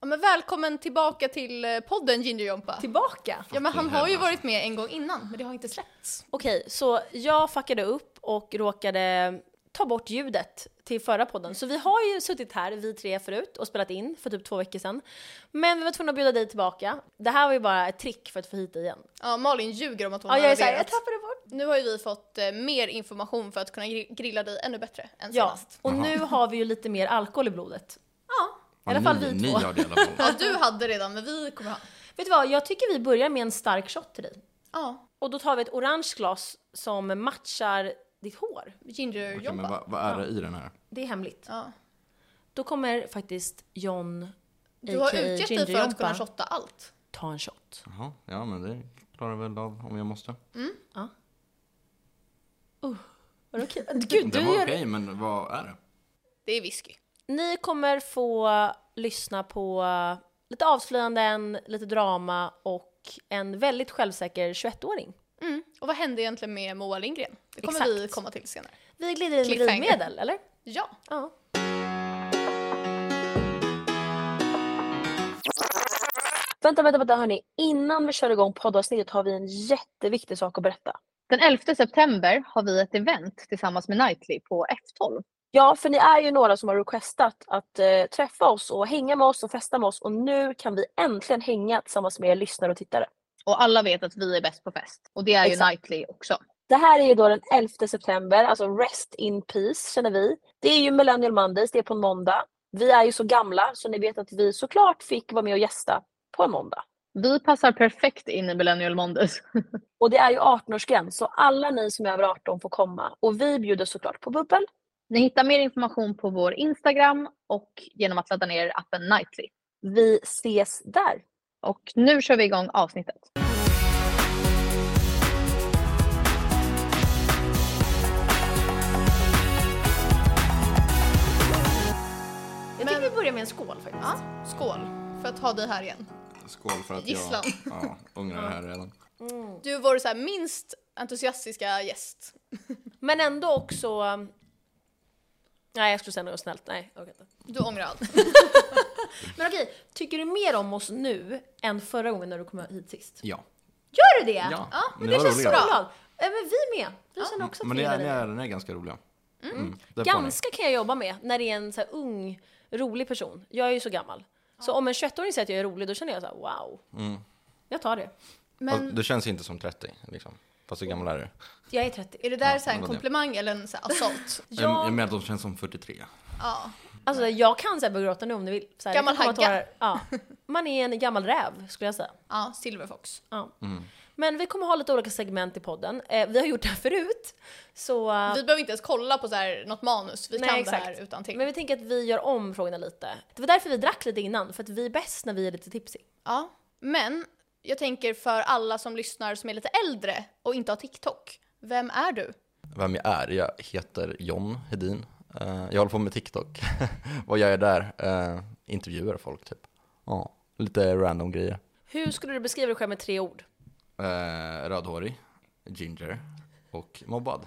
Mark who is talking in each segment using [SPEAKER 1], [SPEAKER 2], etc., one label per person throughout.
[SPEAKER 1] Ja, men välkommen tillbaka till eh, podden Gingerjompa.
[SPEAKER 2] Tillbaka!
[SPEAKER 1] Ja men han
[SPEAKER 3] Fucking
[SPEAKER 1] har ju
[SPEAKER 3] hell,
[SPEAKER 1] varit med en gång innan men det har inte släppts.
[SPEAKER 2] Okej, så jag fuckade upp och råkade ta bort ljudet till förra podden. Så vi har ju suttit här, vi tre förut, och spelat in för typ två veckor sedan. Men vi var tvungna att bjuda dig tillbaka. Det här var ju bara ett trick för att få hit dig igen.
[SPEAKER 1] Ja Malin ljuger om att hon
[SPEAKER 2] Ja,
[SPEAKER 1] har
[SPEAKER 2] jag är såhär, jag
[SPEAKER 1] levererat.
[SPEAKER 2] tappade bort.
[SPEAKER 1] Nu har ju vi fått eh, mer information för att kunna gri- grilla dig ännu bättre än
[SPEAKER 2] Ja,
[SPEAKER 1] senast.
[SPEAKER 2] och nu har vi ju lite mer alkohol i blodet. Ja, i alla
[SPEAKER 3] alltså. Ja,
[SPEAKER 2] fall
[SPEAKER 3] ni,
[SPEAKER 2] vi
[SPEAKER 3] ni
[SPEAKER 2] två.
[SPEAKER 3] gör det i alla fall.
[SPEAKER 1] Ja du hade redan men vi kommer ha.
[SPEAKER 2] Vet du vad, jag tycker vi börjar med en stark shot till dig.
[SPEAKER 1] Ja,
[SPEAKER 2] Och då tar vi ett orange glas som matchar ditt hår.
[SPEAKER 3] Okej, men
[SPEAKER 1] Gingerjompa.
[SPEAKER 3] vad, vad är det i den här?
[SPEAKER 2] Det är hemligt.
[SPEAKER 1] ja.
[SPEAKER 2] Då kommer faktiskt John,
[SPEAKER 1] Du har
[SPEAKER 2] aka
[SPEAKER 1] utgett dig för att
[SPEAKER 2] Gingerjompa,
[SPEAKER 1] kunna shotta allt.
[SPEAKER 2] ta en shot.
[SPEAKER 3] Jaha, ja men det klarar jag väl av om jag måste.
[SPEAKER 2] Var det okej? Gud,
[SPEAKER 3] Det
[SPEAKER 2] du
[SPEAKER 3] var okej,
[SPEAKER 2] gör...
[SPEAKER 3] men vad är det?
[SPEAKER 1] Det är whisky.
[SPEAKER 2] Ni kommer få lyssna på eh, lite avslöjanden, lite drama och en väldigt självsäker 21-åring.
[SPEAKER 1] Mm. Och vad hände egentligen med Moa Lindgren? Det kommer
[SPEAKER 2] Exakt.
[SPEAKER 1] vi komma till senare.
[SPEAKER 2] Vi glider in med
[SPEAKER 1] Cliffhanger.
[SPEAKER 2] drivmedel, eller?
[SPEAKER 1] Ja.
[SPEAKER 2] Ja. Vänta, vänta, vänta hörni. Innan vi kör igång poddavsnittet har vi en jätteviktig sak att berätta.
[SPEAKER 4] Den 11 september har vi ett event tillsammans med Nightly på F12.
[SPEAKER 2] Ja, för ni är ju några som har requestat att eh, träffa oss och hänga med oss och festa med oss och nu kan vi äntligen hänga tillsammans med er lyssnare och tittare.
[SPEAKER 4] Och alla vet att vi är bäst på fest. Och det är ju
[SPEAKER 2] Exakt.
[SPEAKER 4] Nightly också.
[SPEAKER 2] Det här är ju då den 11 september, alltså Rest in Peace känner vi. Det är ju Millennial Mondays, det är på en måndag. Vi är ju så gamla så ni vet att vi såklart fick vara med och gästa på en måndag.
[SPEAKER 4] Vi passar perfekt in i Millennial Mondays.
[SPEAKER 2] Och det är ju 18-årsgräns så alla ni som är över 18 får komma. Och vi bjuder såklart på bubbel.
[SPEAKER 4] Ni hittar mer information på vår Instagram och genom att ladda ner appen Nightly.
[SPEAKER 2] Vi ses där.
[SPEAKER 4] Och nu kör vi igång avsnittet.
[SPEAKER 2] Jag tycker vi börjar med en skål faktiskt.
[SPEAKER 1] ja. Skål för att ha dig här igen.
[SPEAKER 3] Skål för att
[SPEAKER 1] Gisslan.
[SPEAKER 3] jag ja, ångrar det här redan.
[SPEAKER 1] Du är vår så här minst entusiastiska gäst.
[SPEAKER 2] Men ändå också... um, Nej, jag skulle säga något snällt. Nej, jag orkar inte.
[SPEAKER 1] Du ångrar allt.
[SPEAKER 2] Men okej, tycker du mer om oss nu än förra gången när du kom hit sist?
[SPEAKER 3] Ja.
[SPEAKER 2] Gör du det?
[SPEAKER 3] Ja,
[SPEAKER 2] men
[SPEAKER 3] ni
[SPEAKER 2] det
[SPEAKER 3] var
[SPEAKER 2] känns så
[SPEAKER 3] roliga.
[SPEAKER 2] bra. Äh, men vi med. Vi känner också att
[SPEAKER 3] Men
[SPEAKER 2] vi
[SPEAKER 3] ni
[SPEAKER 2] gillar
[SPEAKER 3] är, ni,
[SPEAKER 2] dig.
[SPEAKER 3] är, ni är ganska roliga. Mm. det får ni.
[SPEAKER 2] Ganska kan jag jobba med när det är en så här ung, rolig person. Jag är ju så gammal. Så om en 21-åring säger att jag är rolig, då känner jag så här, wow. Jag tar det.
[SPEAKER 1] Men
[SPEAKER 3] Fast Det känns inte som 30, liksom. Fast hur gammal är du?
[SPEAKER 2] Jag är 30.
[SPEAKER 1] är det där så här en
[SPEAKER 3] det var det.
[SPEAKER 1] komplimang eller en så här assault?
[SPEAKER 3] Jag, jag
[SPEAKER 2] Jag,
[SPEAKER 3] menar att de känns som 43.
[SPEAKER 1] Ja.
[SPEAKER 2] alltså, jag kan så här börja gråta nu om ni vill. Så här,
[SPEAKER 1] Gammal
[SPEAKER 2] det kan komma
[SPEAKER 1] hagga.
[SPEAKER 2] tårar. Ja. Man är en gammal räv, skulle jag säga.
[SPEAKER 1] Ja, Silverfox.
[SPEAKER 2] Ja. Men vi kommer ha lite olika segment i podden. Eh, vi har gjort det här förut. Så, eh,
[SPEAKER 1] Vi behöver inte ens kolla på så här något manus, vi
[SPEAKER 2] Nej,
[SPEAKER 1] kan
[SPEAKER 2] exakt.
[SPEAKER 1] det här utan till.
[SPEAKER 2] men vi tänker att vi gör om frågorna lite. Det var därför vi drack lite innan, för att vi är bäst när vi är lite tipsy.
[SPEAKER 1] Ja. Men jag tänker för alla som lyssnar som är lite äldre och inte har TikTok, vem är du?
[SPEAKER 3] Vem jag är? Jag heter John Hedin. Eh, jag håller på med TikTok. Vad gör jag där? Eh, intervjuar folk, typ. Ja, lite random grejer.
[SPEAKER 2] Hur skulle du beskriva dig själv med tre ord?
[SPEAKER 3] Eh, rödhårig, ginger och mobbad.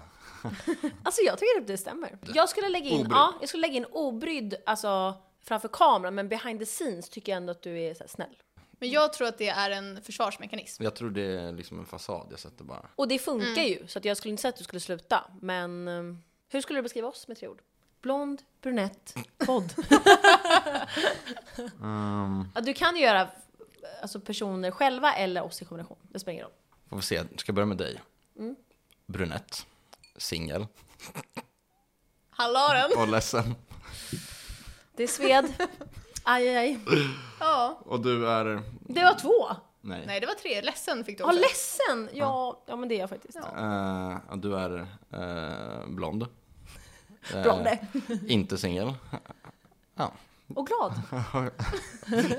[SPEAKER 2] Alltså jag tycker att det stämmer. Jag skulle lägga in,
[SPEAKER 3] Obrydd.
[SPEAKER 2] ja, jag skulle lägga in obrydd alltså, framför kameran, men behind the scenes tycker jag ändå att du är så här, snäll.
[SPEAKER 1] Men jag tror att det är en försvarsmekanism.
[SPEAKER 3] Jag tror det är liksom en fasad jag sätter bara.
[SPEAKER 2] Och det funkar ju, så att jag skulle inte säga att du skulle sluta. Men eh, hur skulle du beskriva oss med tre ord? Blond, brunett, podd. ja, du kan ju göra alltså, personer själva eller oss i kombination. Det spelar ingen roll.
[SPEAKER 3] Får vi se, ska jag börja med dig?
[SPEAKER 2] Mm.
[SPEAKER 3] Brunett, singel
[SPEAKER 1] Hallå den!
[SPEAKER 3] och ledsen.
[SPEAKER 2] Det är sved. Aj, aj, aj.
[SPEAKER 1] Ja.
[SPEAKER 3] Och du är...
[SPEAKER 2] Det var två!
[SPEAKER 3] Nej.
[SPEAKER 1] Nej, det var tre. Ledsen fick du
[SPEAKER 2] Ja,
[SPEAKER 1] också.
[SPEAKER 2] ledsen! Ja, ja, men det är jag faktiskt.
[SPEAKER 3] Eh, och du är eh, blond. Eh,
[SPEAKER 2] Blonde.
[SPEAKER 3] Inte singel. Ja.
[SPEAKER 2] Och glad.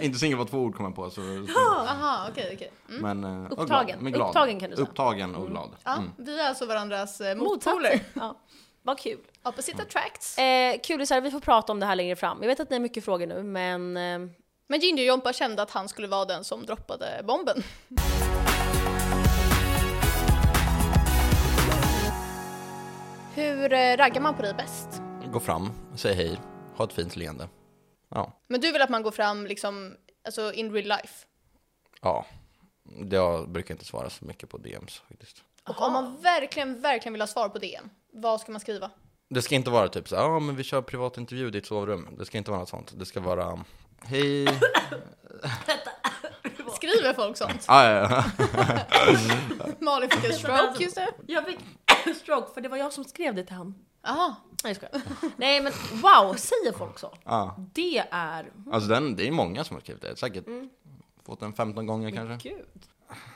[SPEAKER 3] inte singel var två ord kom jag på. Så,
[SPEAKER 1] Aha, okej, okej. Mm.
[SPEAKER 3] men, eh, och
[SPEAKER 2] Upptagen.
[SPEAKER 3] Glad, men glad.
[SPEAKER 2] Upptagen kan du säga. Mm.
[SPEAKER 3] Upptagen och glad.
[SPEAKER 1] Ja, vi är alltså varandras eh, motpoler.
[SPEAKER 2] Ja. Vad kul.
[SPEAKER 1] Opposite attracts.
[SPEAKER 2] Eh, kulisar, vi får prata om det här längre fram. Jag vet att ni har mycket frågor nu, men... Eh,
[SPEAKER 1] Men Ginger-Jompa kände att han skulle vara den som droppade bomben. Hur eh, raggar man på dig bäst?
[SPEAKER 3] Mm. Gå fram, säg hej, ha ett fint leende. Ja.
[SPEAKER 1] Men du vill att man går fram liksom Alltså in real life.
[SPEAKER 3] Ja, jag brukar inte svara så mycket på DMs faktiskt.
[SPEAKER 1] Och
[SPEAKER 2] Aha.
[SPEAKER 1] om man verkligen, verkligen vill ha svar på DM, vad ska man skriva?
[SPEAKER 3] Det ska inte vara typ så här, ja men vi kör privatintervju i ditt sovrum. Det ska inte vara något sånt. Det ska vara, um, hej. Ah,
[SPEAKER 1] Skriver folk sånt?
[SPEAKER 3] Ah, ja, ja.
[SPEAKER 1] Malin fick en stroke just nu.
[SPEAKER 2] Jag fick stroke för det var jag som skrev det till han.
[SPEAKER 1] Jaha,
[SPEAKER 2] Nej, jag skojar. Nej men wow, säger folk så?
[SPEAKER 3] Ja.
[SPEAKER 2] Det är...
[SPEAKER 3] Ah. Alltså den, det är många som har skrivit det, säkert
[SPEAKER 2] Mm.
[SPEAKER 3] fått den 15 gånger kanske.
[SPEAKER 2] Gud.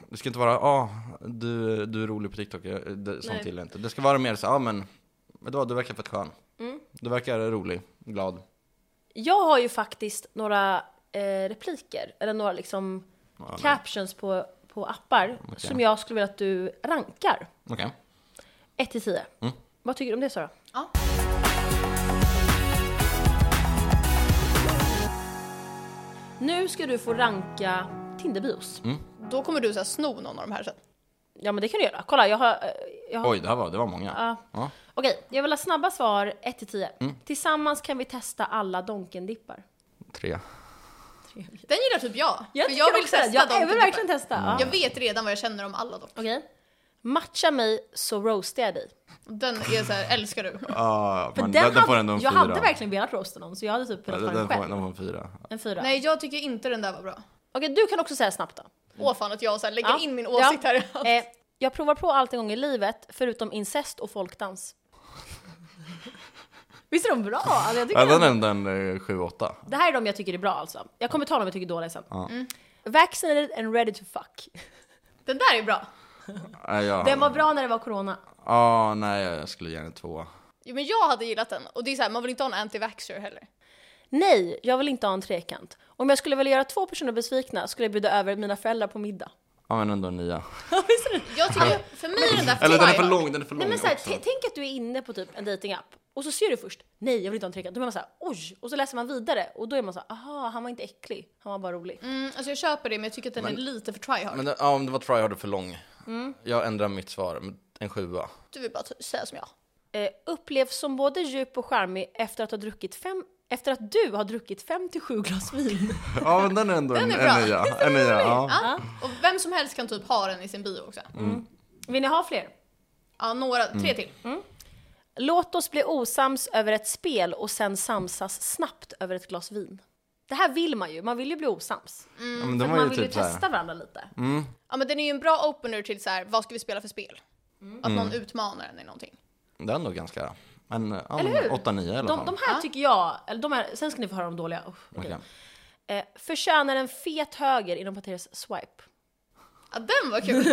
[SPEAKER 3] Det ska inte vara, ah, du, du är rolig på TikTok, eh, det,
[SPEAKER 2] Nej.
[SPEAKER 3] sånt gillar jag inte. Det ska vara mer så, ah, men vet du vad, du verkar fett skön.
[SPEAKER 2] Mm.
[SPEAKER 3] Du verkar rolig, glad.
[SPEAKER 2] Jag har ju faktiskt några eh, repliker, eller några liksom
[SPEAKER 3] Ja,
[SPEAKER 2] captions på, på appar som jag skulle vilja att du rankar.
[SPEAKER 3] Okej.
[SPEAKER 2] 1 till 10.
[SPEAKER 3] Mm.
[SPEAKER 2] Vad tycker du om det Sara?
[SPEAKER 1] Ja.
[SPEAKER 2] Nu ska du få ranka Tinderbios.
[SPEAKER 3] Mm.
[SPEAKER 1] då kommer du så här sno någon av de här sen.
[SPEAKER 2] Ja men det kan du göra. Kolla jag har... eh, Jag har
[SPEAKER 3] Oj, det, här var, det var många.
[SPEAKER 2] Ja.
[SPEAKER 3] Ja.
[SPEAKER 2] Okej, jag vill ha snabba svar 1 till 10. Tillsammans kan vi testa alla donkendippar.
[SPEAKER 3] Tre.
[SPEAKER 1] Den gillar typ jag. för
[SPEAKER 2] tycker
[SPEAKER 1] jag vill
[SPEAKER 2] också
[SPEAKER 1] testa
[SPEAKER 2] det. jag,
[SPEAKER 1] dem
[SPEAKER 2] jag vill
[SPEAKER 1] typ.
[SPEAKER 2] verkligen testa. Ja.
[SPEAKER 1] Jag vet redan vad jag känner om alla dock.
[SPEAKER 2] Okej. Matcha mig så roastar jag dig.
[SPEAKER 1] Den är så här, älskar du.
[SPEAKER 3] Ah, men
[SPEAKER 2] den
[SPEAKER 3] den, den får
[SPEAKER 2] hade-
[SPEAKER 3] ändå en
[SPEAKER 2] jag
[SPEAKER 3] fyra.
[SPEAKER 2] hade verkligen velat roasta någon så jag hade typ
[SPEAKER 3] Ja,
[SPEAKER 2] velat
[SPEAKER 3] den,
[SPEAKER 2] ta den
[SPEAKER 3] den, får,
[SPEAKER 2] själv.
[SPEAKER 3] den får en fyra.
[SPEAKER 2] En fyra.
[SPEAKER 1] Nej jag tycker inte den där var bra.
[SPEAKER 3] Mm.
[SPEAKER 2] Okej, du kan också säga snabbt då.
[SPEAKER 1] Åh fan att jag så här lägger
[SPEAKER 2] Ja.
[SPEAKER 1] in min åsikt
[SPEAKER 2] Ja.
[SPEAKER 1] här. i allt.
[SPEAKER 2] Eh, jag provar på allt en gång i livet förutom incest och folkdans. Visst är de bra? Alltså, jag tycker
[SPEAKER 3] Ja, den
[SPEAKER 2] de-
[SPEAKER 3] är ändå en eh, sju, åtta.
[SPEAKER 2] Det här är de jag tycker är bra alltså. Jag kommer ta dem jag tycker är dåliga sen. Vaccinated and ready to fuck.
[SPEAKER 1] Den där är bra.
[SPEAKER 3] Nej, jag-
[SPEAKER 2] Den var bra när det var corona.
[SPEAKER 3] Ah, nej, jag skulle ge den en tvåa.
[SPEAKER 1] Jo, men jag hade gillat den. Och det är så här, man vill inte ha en anti-vaxxer heller.
[SPEAKER 2] Nej, jag vill inte ha en trekant. Om jag skulle vilja göra två personer besvikna skulle jag bjuda över mina föräldrar på middag.
[SPEAKER 3] Ja, men ändå en nia.
[SPEAKER 2] Visst är det?
[SPEAKER 1] Jag tycker, för mig är den där
[SPEAKER 3] Eller den är för
[SPEAKER 1] tvåa.
[SPEAKER 3] lång, den är för lång
[SPEAKER 2] Nej men såhär,
[SPEAKER 3] också.
[SPEAKER 2] t- tänk att du är inne på typ en datingapp och så ser du först nej jag vill inte ha en trekant. Då är man såhär oj och så läser man vidare och då är man såhär aha han var inte äcklig, han var bara rolig.
[SPEAKER 1] Mm, alltså jag köper det men jag tycker att den är lite för tryhard.
[SPEAKER 3] Men det, ja, om det var try hard och för lång.
[SPEAKER 2] Mm.
[SPEAKER 3] Jag ändrar mitt svar, men en sjua.
[SPEAKER 1] Du vill bara t- säga som jag.
[SPEAKER 2] Eh, upplevs som både djup och charmig efter att ha druckit fem efter att du har druckit fem till sju glas vin.
[SPEAKER 3] Ja men den är ändå
[SPEAKER 1] Den
[SPEAKER 3] en,
[SPEAKER 1] är bra.
[SPEAKER 3] en nia. En nia ja. Mm.
[SPEAKER 1] Ja. Och vem som helst kan typ ha den i sin bio också.
[SPEAKER 2] Vill ni ha fler?
[SPEAKER 1] Ja, några, tre till.
[SPEAKER 2] Låt oss bli osams över ett spel och sen samsas snabbt över ett glas vin. Det här vill man ju, man vill ju bli osams.
[SPEAKER 3] ja men den
[SPEAKER 2] Mm. man
[SPEAKER 3] var ju
[SPEAKER 2] vill ju
[SPEAKER 3] typ så här. Mm.
[SPEAKER 2] testa varandra lite.
[SPEAKER 1] Ja men den är ju en bra opener till så här, vad ska vi spela för spel? Att någon
[SPEAKER 3] Mm.
[SPEAKER 1] utmanar en i någonting.
[SPEAKER 3] Den är ändå ganska, en, ja, men åtta, nio i alla
[SPEAKER 2] De,
[SPEAKER 3] fall.
[SPEAKER 2] de här tycker jag, eller de här, sen ska ni få höra de dåliga. Oh, okej.
[SPEAKER 3] Okej.
[SPEAKER 2] Eh, förtjänar en fet höger inom parentes swipe.
[SPEAKER 1] Ja den var kul!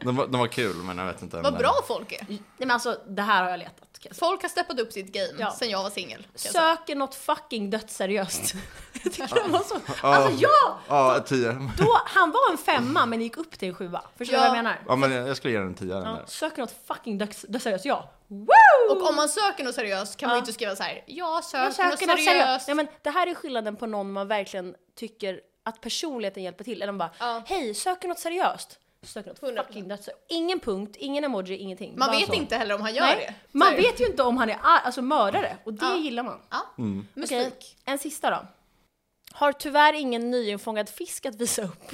[SPEAKER 3] Den, var, den var kul men jag vet inte. om
[SPEAKER 1] vad
[SPEAKER 3] den-
[SPEAKER 1] bra folk är!
[SPEAKER 2] Nej men alltså det här har jag letat. kan jag säga.
[SPEAKER 1] Folk har steppat upp sitt game
[SPEAKER 2] Ja.
[SPEAKER 1] sen jag var singel. kan jag säga.
[SPEAKER 2] Söker något fucking dödsseriöst. jag tycker de var så... Alltså jag!
[SPEAKER 3] Ja, tio.
[SPEAKER 2] Då, han var en femma men gick upp till en sjua. Förstår du
[SPEAKER 1] Ja.
[SPEAKER 2] vad jag menar?
[SPEAKER 3] Ja men jag jag skulle ge den en tia den
[SPEAKER 2] Ja.
[SPEAKER 3] där.
[SPEAKER 2] Söker något fucking döds, dödsseriöst, ja. Woo!
[SPEAKER 1] Och om man söker något seriöst kan man ju inte skriva så här. jag söker,
[SPEAKER 2] jag söker
[SPEAKER 1] något
[SPEAKER 2] något seriöst.
[SPEAKER 1] seriöst.
[SPEAKER 2] Nej men det här är skillnaden på någon man verkligen tycker att personligheten hjälper till. Eller de bara,
[SPEAKER 1] Ja.
[SPEAKER 2] hej söker något seriöst. Söker något
[SPEAKER 1] 100%.
[SPEAKER 2] fucking dödsseriöst. Ingen punkt, ingen emoji, ingenting.
[SPEAKER 1] man
[SPEAKER 2] Bara
[SPEAKER 1] vet
[SPEAKER 2] så.
[SPEAKER 1] inte heller om han gör det.
[SPEAKER 2] Nej,
[SPEAKER 1] Så
[SPEAKER 2] man
[SPEAKER 1] här,
[SPEAKER 2] vet ju inte om han är ar- alltså mördare och det
[SPEAKER 1] Ja.
[SPEAKER 2] gillar man.
[SPEAKER 1] Ja. Mystik.
[SPEAKER 2] Okej, en sista då. Har tyvärr ingen nyinfångad fisk att visa upp.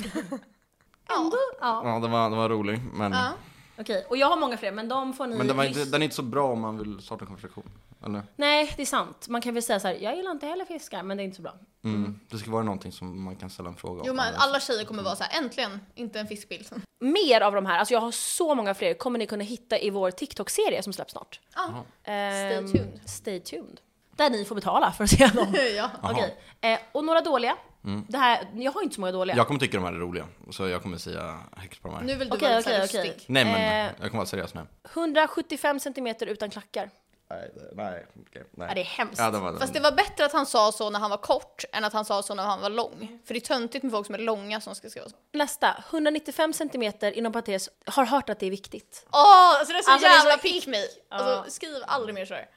[SPEAKER 2] Ändå? Ja.
[SPEAKER 3] Ja den var, den var rolig men,
[SPEAKER 1] Ja.
[SPEAKER 2] Okej, och jag har många fler men de får ni
[SPEAKER 3] men den, var inte,
[SPEAKER 2] lyssna-
[SPEAKER 3] den är inte så bra om man vill starta en konversation. Eller?
[SPEAKER 2] Nej, det är sant. Man kan väl säga så här, jag gillar inte heller fiskar men det är inte så bra.
[SPEAKER 3] Mm. Det ska vara någonting som man kan ställa en fråga om.
[SPEAKER 1] Jo men alla tjejer kommer vara så Mm. här. äntligen inte en fiskbild.
[SPEAKER 2] Mer av de här, alltså jag har så många fler, kommer ni kunna hitta i vår TikTok-serie som släpps snart.
[SPEAKER 1] Ja.
[SPEAKER 2] Ehm,
[SPEAKER 1] tuned.
[SPEAKER 2] Stay tuned. Där ni får betala för att se dem.
[SPEAKER 1] ja.
[SPEAKER 2] Okej, eh, och några dåliga.
[SPEAKER 1] Mm.
[SPEAKER 2] Det här, jag har inte så många dåliga.
[SPEAKER 3] Jag kommer tycka de här är roliga, så jag kommer säga högt på de här.
[SPEAKER 1] Nu vill du
[SPEAKER 2] Okej,
[SPEAKER 1] vara lite så här
[SPEAKER 2] okej, okej.
[SPEAKER 1] lustig.
[SPEAKER 3] Nej men,
[SPEAKER 2] Eh.
[SPEAKER 3] jag kommer vara seriös nu.
[SPEAKER 2] 175 centimeter utan klackar.
[SPEAKER 3] Nej, det- nej, okej, nej.
[SPEAKER 2] Ja, det är hemskt.
[SPEAKER 3] Ja, det var den.
[SPEAKER 1] Fast det var bättre att han sa så när han var kort än att han sa så när han var lång. För det är töntigt med folk som är långa som ska skriva så.
[SPEAKER 2] Nästa, 195 centimeter inom parentes, har hört att det är viktigt.
[SPEAKER 1] Åh, alltså det är så
[SPEAKER 2] Alltså, det är
[SPEAKER 1] jävla
[SPEAKER 2] så Mm.
[SPEAKER 1] pick me! Alltså skriv aldrig mer sådär.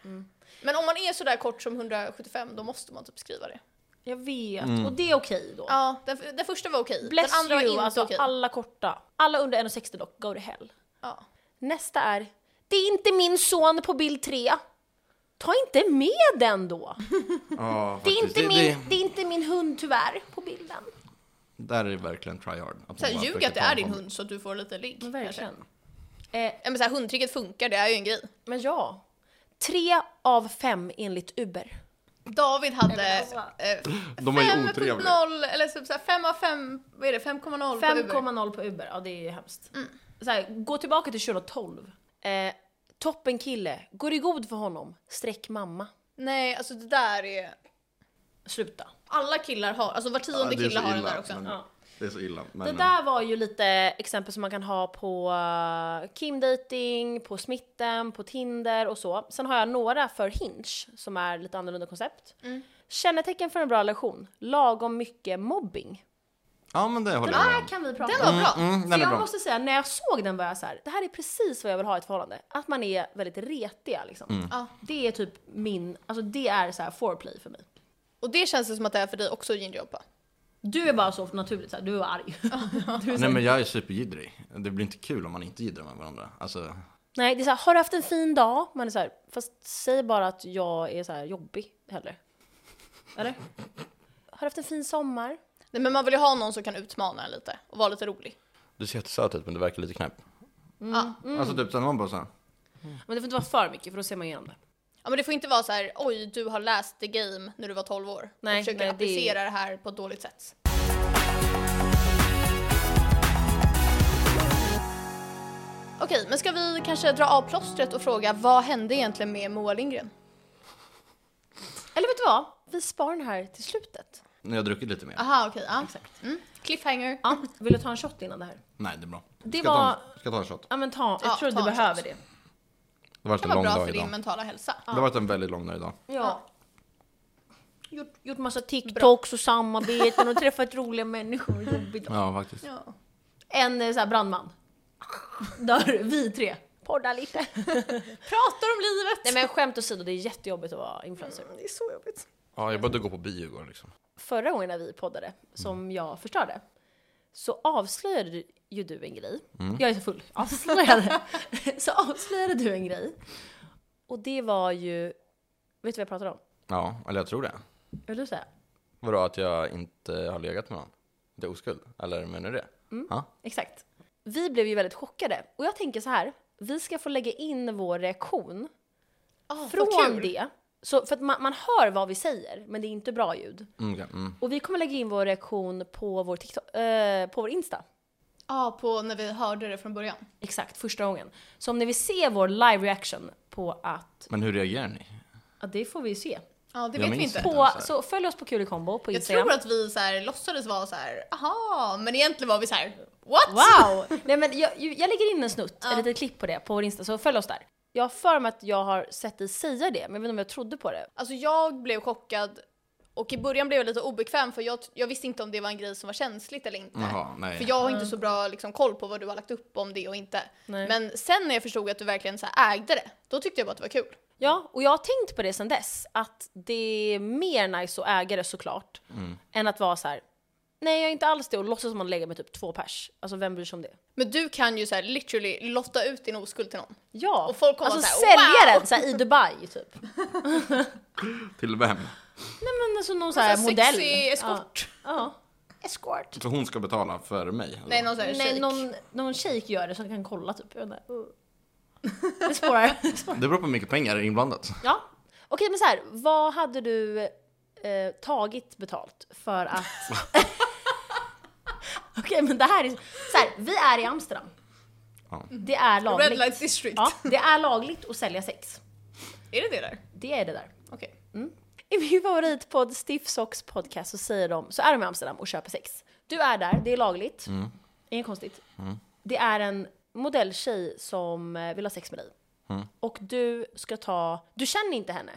[SPEAKER 1] Men om man är sådär kort som 175 då måste man typ skriva det.
[SPEAKER 2] Jag vet, och det är okej då.
[SPEAKER 1] Mm. Ja, den, den första var okej.
[SPEAKER 2] Bless
[SPEAKER 1] den andra var
[SPEAKER 2] you,
[SPEAKER 1] inte
[SPEAKER 2] alltså
[SPEAKER 1] okej.
[SPEAKER 2] alla korta. Alla under 1,60 dock, go to hell.
[SPEAKER 1] Ja.
[SPEAKER 2] Nästa är, det är inte min son på bild 3. Ta inte med den då.
[SPEAKER 3] Ja,
[SPEAKER 2] Det är
[SPEAKER 3] faktiskt.
[SPEAKER 2] inte, min, det är inte min hund tyvärr på bilden.
[SPEAKER 3] Där är det verkligen try hard. Att
[SPEAKER 1] Så här,
[SPEAKER 3] man bara
[SPEAKER 1] ljug
[SPEAKER 3] försöker
[SPEAKER 1] att det
[SPEAKER 3] ta
[SPEAKER 1] är
[SPEAKER 3] en
[SPEAKER 1] din
[SPEAKER 3] hand.
[SPEAKER 1] hund så att du får lite ligg.
[SPEAKER 2] Men
[SPEAKER 1] kanske.
[SPEAKER 2] verkligen. Eh,
[SPEAKER 1] Ja, men så här, hundtricket funkar, det är ju en grej.
[SPEAKER 2] men ja. Tre av fem enligt Uber.
[SPEAKER 1] David hade eh,
[SPEAKER 3] De är ju
[SPEAKER 1] 5.0 eller typ så så här, 5 av 5, vad är det, 5,0 på Uber. Mm.
[SPEAKER 2] 5,0 på Uber, ja det är ju hemskt. Så här, gå tillbaka till 2012. Eh, toppen kille, går i god för honom, streck mamma.
[SPEAKER 1] Nej, alltså det där är...
[SPEAKER 2] Sluta.
[SPEAKER 1] Alla killar har, alltså var
[SPEAKER 3] Ja,
[SPEAKER 1] tionde
[SPEAKER 3] det är
[SPEAKER 1] kille
[SPEAKER 3] så
[SPEAKER 1] har den
[SPEAKER 3] illa,
[SPEAKER 1] där också.
[SPEAKER 3] men-
[SPEAKER 2] Ja.
[SPEAKER 3] Det är så illa. Men,
[SPEAKER 2] Det där var ju lite exempel som man kan ha på eh, Kimdating, på Smitten, på Tinder och så. Sen har jag några för Hinge som är lite annorlunda koncept. Kännetecken för en bra relation, lagom mycket mobbing.
[SPEAKER 3] Ja men det håller
[SPEAKER 2] Den
[SPEAKER 3] jag med
[SPEAKER 2] här
[SPEAKER 3] om.
[SPEAKER 2] kan vi prata
[SPEAKER 1] Den
[SPEAKER 2] om.
[SPEAKER 1] var bra.
[SPEAKER 3] Mm,
[SPEAKER 2] För
[SPEAKER 3] den är
[SPEAKER 2] jag
[SPEAKER 3] bra.
[SPEAKER 2] måste säga, när jag såg den var jag så här, det här är precis vad jag vill ha i ett förhållande. Att man är väldigt retiga liksom.
[SPEAKER 3] Mm.
[SPEAKER 1] Ja.
[SPEAKER 2] Det är typ min, alltså det är så här foreplay för mig.
[SPEAKER 1] Och det känns det som att det är för dig också Ginger Hoppa.
[SPEAKER 2] Du är bara så naturligt så här, du är arg. du är så
[SPEAKER 3] Nej
[SPEAKER 2] här,
[SPEAKER 3] men jag är superjiddrig. Det blir inte kul om man inte jiddrar med varandra. Alltså,
[SPEAKER 2] nej, det är så här, har du haft en fin dag? Man är så här, fast säg bara att jag är så här jobbig hellre. Eller? Har du haft en fin sommar?
[SPEAKER 1] Nej, men man vill ju ha någon som kan utmana en lite och vara lite rolig.
[SPEAKER 3] du ser jättesöt ut men du verkar lite knäpp.
[SPEAKER 1] Ja.
[SPEAKER 3] Alltså typ sen man bara såhär.
[SPEAKER 2] Men det får inte vara för mycket för då ser man igenom det.
[SPEAKER 1] ja, men det får inte vara så här, oj, du har läst the game när du var 12 år
[SPEAKER 2] Nej,
[SPEAKER 1] och försöker
[SPEAKER 2] nej, det-
[SPEAKER 1] applicera det... här på ett dåligt sätt. Okej, men ska vi kanske dra av plåstret och fråga vad hände egentligen med Moa Lindgren?
[SPEAKER 2] Eller vet du vad? Vi sparar den här till slutet.
[SPEAKER 3] Nu har jag druckit lite mer.
[SPEAKER 1] Aha, okej, ja. Exakt. Mm. Cliffhanger.
[SPEAKER 2] Ja, vill du ta en shot innan det här?
[SPEAKER 3] Nej det är bra.
[SPEAKER 2] Det
[SPEAKER 3] ska,
[SPEAKER 2] var-
[SPEAKER 3] ta en, ska ta en shot.
[SPEAKER 2] Ja men ta, jag
[SPEAKER 1] Ja,
[SPEAKER 2] tror
[SPEAKER 1] ta
[SPEAKER 2] du
[SPEAKER 1] en shot.
[SPEAKER 2] behöver det.
[SPEAKER 3] Det har varit
[SPEAKER 1] Det kan
[SPEAKER 3] en
[SPEAKER 1] vara
[SPEAKER 3] lång
[SPEAKER 1] bra
[SPEAKER 3] dag
[SPEAKER 1] för din
[SPEAKER 3] idag.
[SPEAKER 1] mentala hälsa.
[SPEAKER 3] Det har varit en väldigt lång dag idag.
[SPEAKER 2] Ja. Gjort, gjort massa TikToks och samarbeten och träffat roliga människor. Jobbigt.
[SPEAKER 3] Ja faktiskt.
[SPEAKER 1] Ja.
[SPEAKER 2] En eh, så här, brandman. Där, vi tre. Podda lite.
[SPEAKER 1] Pratar om livet!
[SPEAKER 2] Nej men skämt åsido, det är jättejobbigt att vara influencer.
[SPEAKER 1] Det är så jobbigt.
[SPEAKER 3] Ja jag började gå på bio igår liksom.
[SPEAKER 2] Förra gången när vi poddade, som jag förstörde, så avslöjade ju du en grej.
[SPEAKER 3] Mm.
[SPEAKER 2] Jag är så full. Avslöjade. så avslöjade du en grej. Och det var ju, vet du vad jag pratade om?
[SPEAKER 3] Ja, eller jag tror det.
[SPEAKER 2] Vill du säga?
[SPEAKER 3] Vadå att jag inte har legat med någon? Det är oskuld? Eller menar du det? Ja.
[SPEAKER 2] Exakt. Vi blev ju väldigt chockade. Och jag tänker så här, vi ska få lägga in vår reaktion Ah, från det. Så, för att man, man hör vad vi säger, men det är inte bra ljud.
[SPEAKER 3] Mm, okej. mm.
[SPEAKER 2] Och vi kommer lägga in vår reaktion på vår, TikTok, eh, på vår Insta.
[SPEAKER 1] Ja, på när vi hörde det från början.
[SPEAKER 2] Exakt, första gången. Så om ni vill se vår live reaction på att,
[SPEAKER 3] Men hur reagerar ni?
[SPEAKER 2] ja det får vi ju se.
[SPEAKER 1] Ja, det
[SPEAKER 3] Jag
[SPEAKER 1] vet vi
[SPEAKER 3] minns
[SPEAKER 1] inte.
[SPEAKER 3] det.
[SPEAKER 2] På, så följ oss på Kulikombo på
[SPEAKER 1] Jag
[SPEAKER 2] Instagram.
[SPEAKER 1] tror att vi så här, låtsades vara så här, aha, men egentligen var vi så här, what?
[SPEAKER 2] Wow! Nej men jag, ju- jag lägger in en snutt, ett litet klipp på det, på vår Insta, så följ oss där. Jag har för mig att jag har sett dig säga det, men jag vet inte om jag trodde på det.
[SPEAKER 1] Alltså jag blev chockad och i början blev jag lite obekväm för jag, jag visste inte om det var en grej som var känsligt eller inte.
[SPEAKER 3] Jaha, nej.
[SPEAKER 1] För jag har inte så bra liksom, koll på vad du har lagt upp om det och inte.
[SPEAKER 2] Nej.
[SPEAKER 1] Men sen när jag förstod att du verkligen så här, ägde det, då tyckte jag bara att det var kul.
[SPEAKER 2] Ja, och jag har tänkt på det sen dess, att det är mer nice att äga det såklart, än att vara så här. nej jag är inte alls det och låtsas som man lägger med typ två pers. Alltså vem bryr sig om det?
[SPEAKER 1] Men du kan ju så här, literally lotta ut din oskuld till någon.
[SPEAKER 2] Ja,
[SPEAKER 1] Och folk kommer
[SPEAKER 2] alltså
[SPEAKER 1] vara så här,
[SPEAKER 2] sälja
[SPEAKER 1] "Wow!"
[SPEAKER 2] den så här, i Dubai typ. Nej
[SPEAKER 3] Till vem?
[SPEAKER 2] men alltså någon så här
[SPEAKER 1] Så här,
[SPEAKER 2] modell.
[SPEAKER 1] Sexy eskort.
[SPEAKER 2] Ja. ja.
[SPEAKER 1] Eskort.
[SPEAKER 3] Så hon ska betala för mig?
[SPEAKER 1] Nej, någon så här
[SPEAKER 2] Nej,
[SPEAKER 1] shake.
[SPEAKER 2] någon, någon shejk gör det så man kan kolla typ. Jag vet inte. Uh. Det spårar. Det spårar.
[SPEAKER 3] Det beror på hur mycket pengar det är inblandat.
[SPEAKER 2] Ja. Okej men så här, vad hade du eh, tagit betalt för att... Okej men det här är... Så här, vi är i Amsterdam.
[SPEAKER 3] Ja.
[SPEAKER 2] Det är
[SPEAKER 1] Red
[SPEAKER 2] lagligt.
[SPEAKER 1] light district.
[SPEAKER 2] Ja, det är lagligt att sälja sex.
[SPEAKER 1] Är det det där?
[SPEAKER 2] Det är det där.
[SPEAKER 1] Okej.
[SPEAKER 2] I min favoritpodd Stiff Socks podcast så säger de, så är de i Amsterdam och köper sex. Du är där, det är lagligt. Inget konstigt. Det är en modelltjej som eh, vill ha sex med dig. Och du ska ta, du känner inte henne.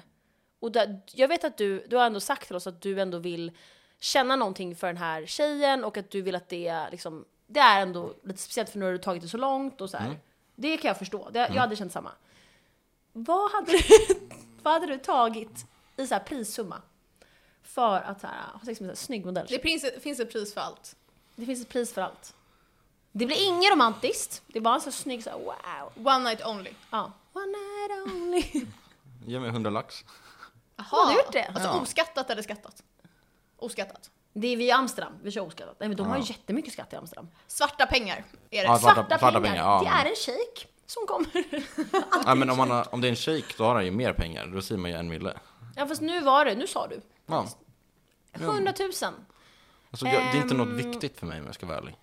[SPEAKER 2] Och där, jag vet att du, du har ändå sagt till oss att du ändå vill känna någonting för den här tjejen och att du vill att det liksom, det är ändå lite speciellt för nu har du tagit det så långt och så här. Det kan jag förstå, det, jag hade känt samma. Vad hade du, vad hade du tagit i så här prissumma? För att så här, ha sex med en så här snygg modell.
[SPEAKER 1] Det finns, finns ett pris för allt.
[SPEAKER 2] Det finns ett pris för allt. Det blir inget romantiskt. Det är bara en så här snygg så här, wow.
[SPEAKER 1] One night only.
[SPEAKER 2] Ja. One night only.
[SPEAKER 3] Ge mig 100 lax.
[SPEAKER 1] Jaha.
[SPEAKER 2] Har du gjort det?
[SPEAKER 1] Alltså
[SPEAKER 3] Ja.
[SPEAKER 1] oskattat eller skattat? Oskattat.
[SPEAKER 2] Det är vi i Amsterdam, vi kör oskattat. Nej men de har ju
[SPEAKER 3] Ja.
[SPEAKER 2] jättemycket skatt i Amsterdam.
[SPEAKER 1] Svarta pengar är det.
[SPEAKER 3] Ja,
[SPEAKER 2] Svarta,
[SPEAKER 3] svarta-
[SPEAKER 2] pengar,
[SPEAKER 3] svarta pengar, ja,
[SPEAKER 2] det
[SPEAKER 3] men-
[SPEAKER 2] är en shejk som kommer.
[SPEAKER 3] Ja, men om, man har, om det är en shejk då har han ju mer pengar, då säger man ju en mille.
[SPEAKER 2] ja fast nu var det, nu sa du.
[SPEAKER 3] Ja.
[SPEAKER 2] 100 000.
[SPEAKER 3] Alltså, jag, det är inte något
[SPEAKER 2] Ehm.
[SPEAKER 3] viktigt för mig om jag ska vara ärlig.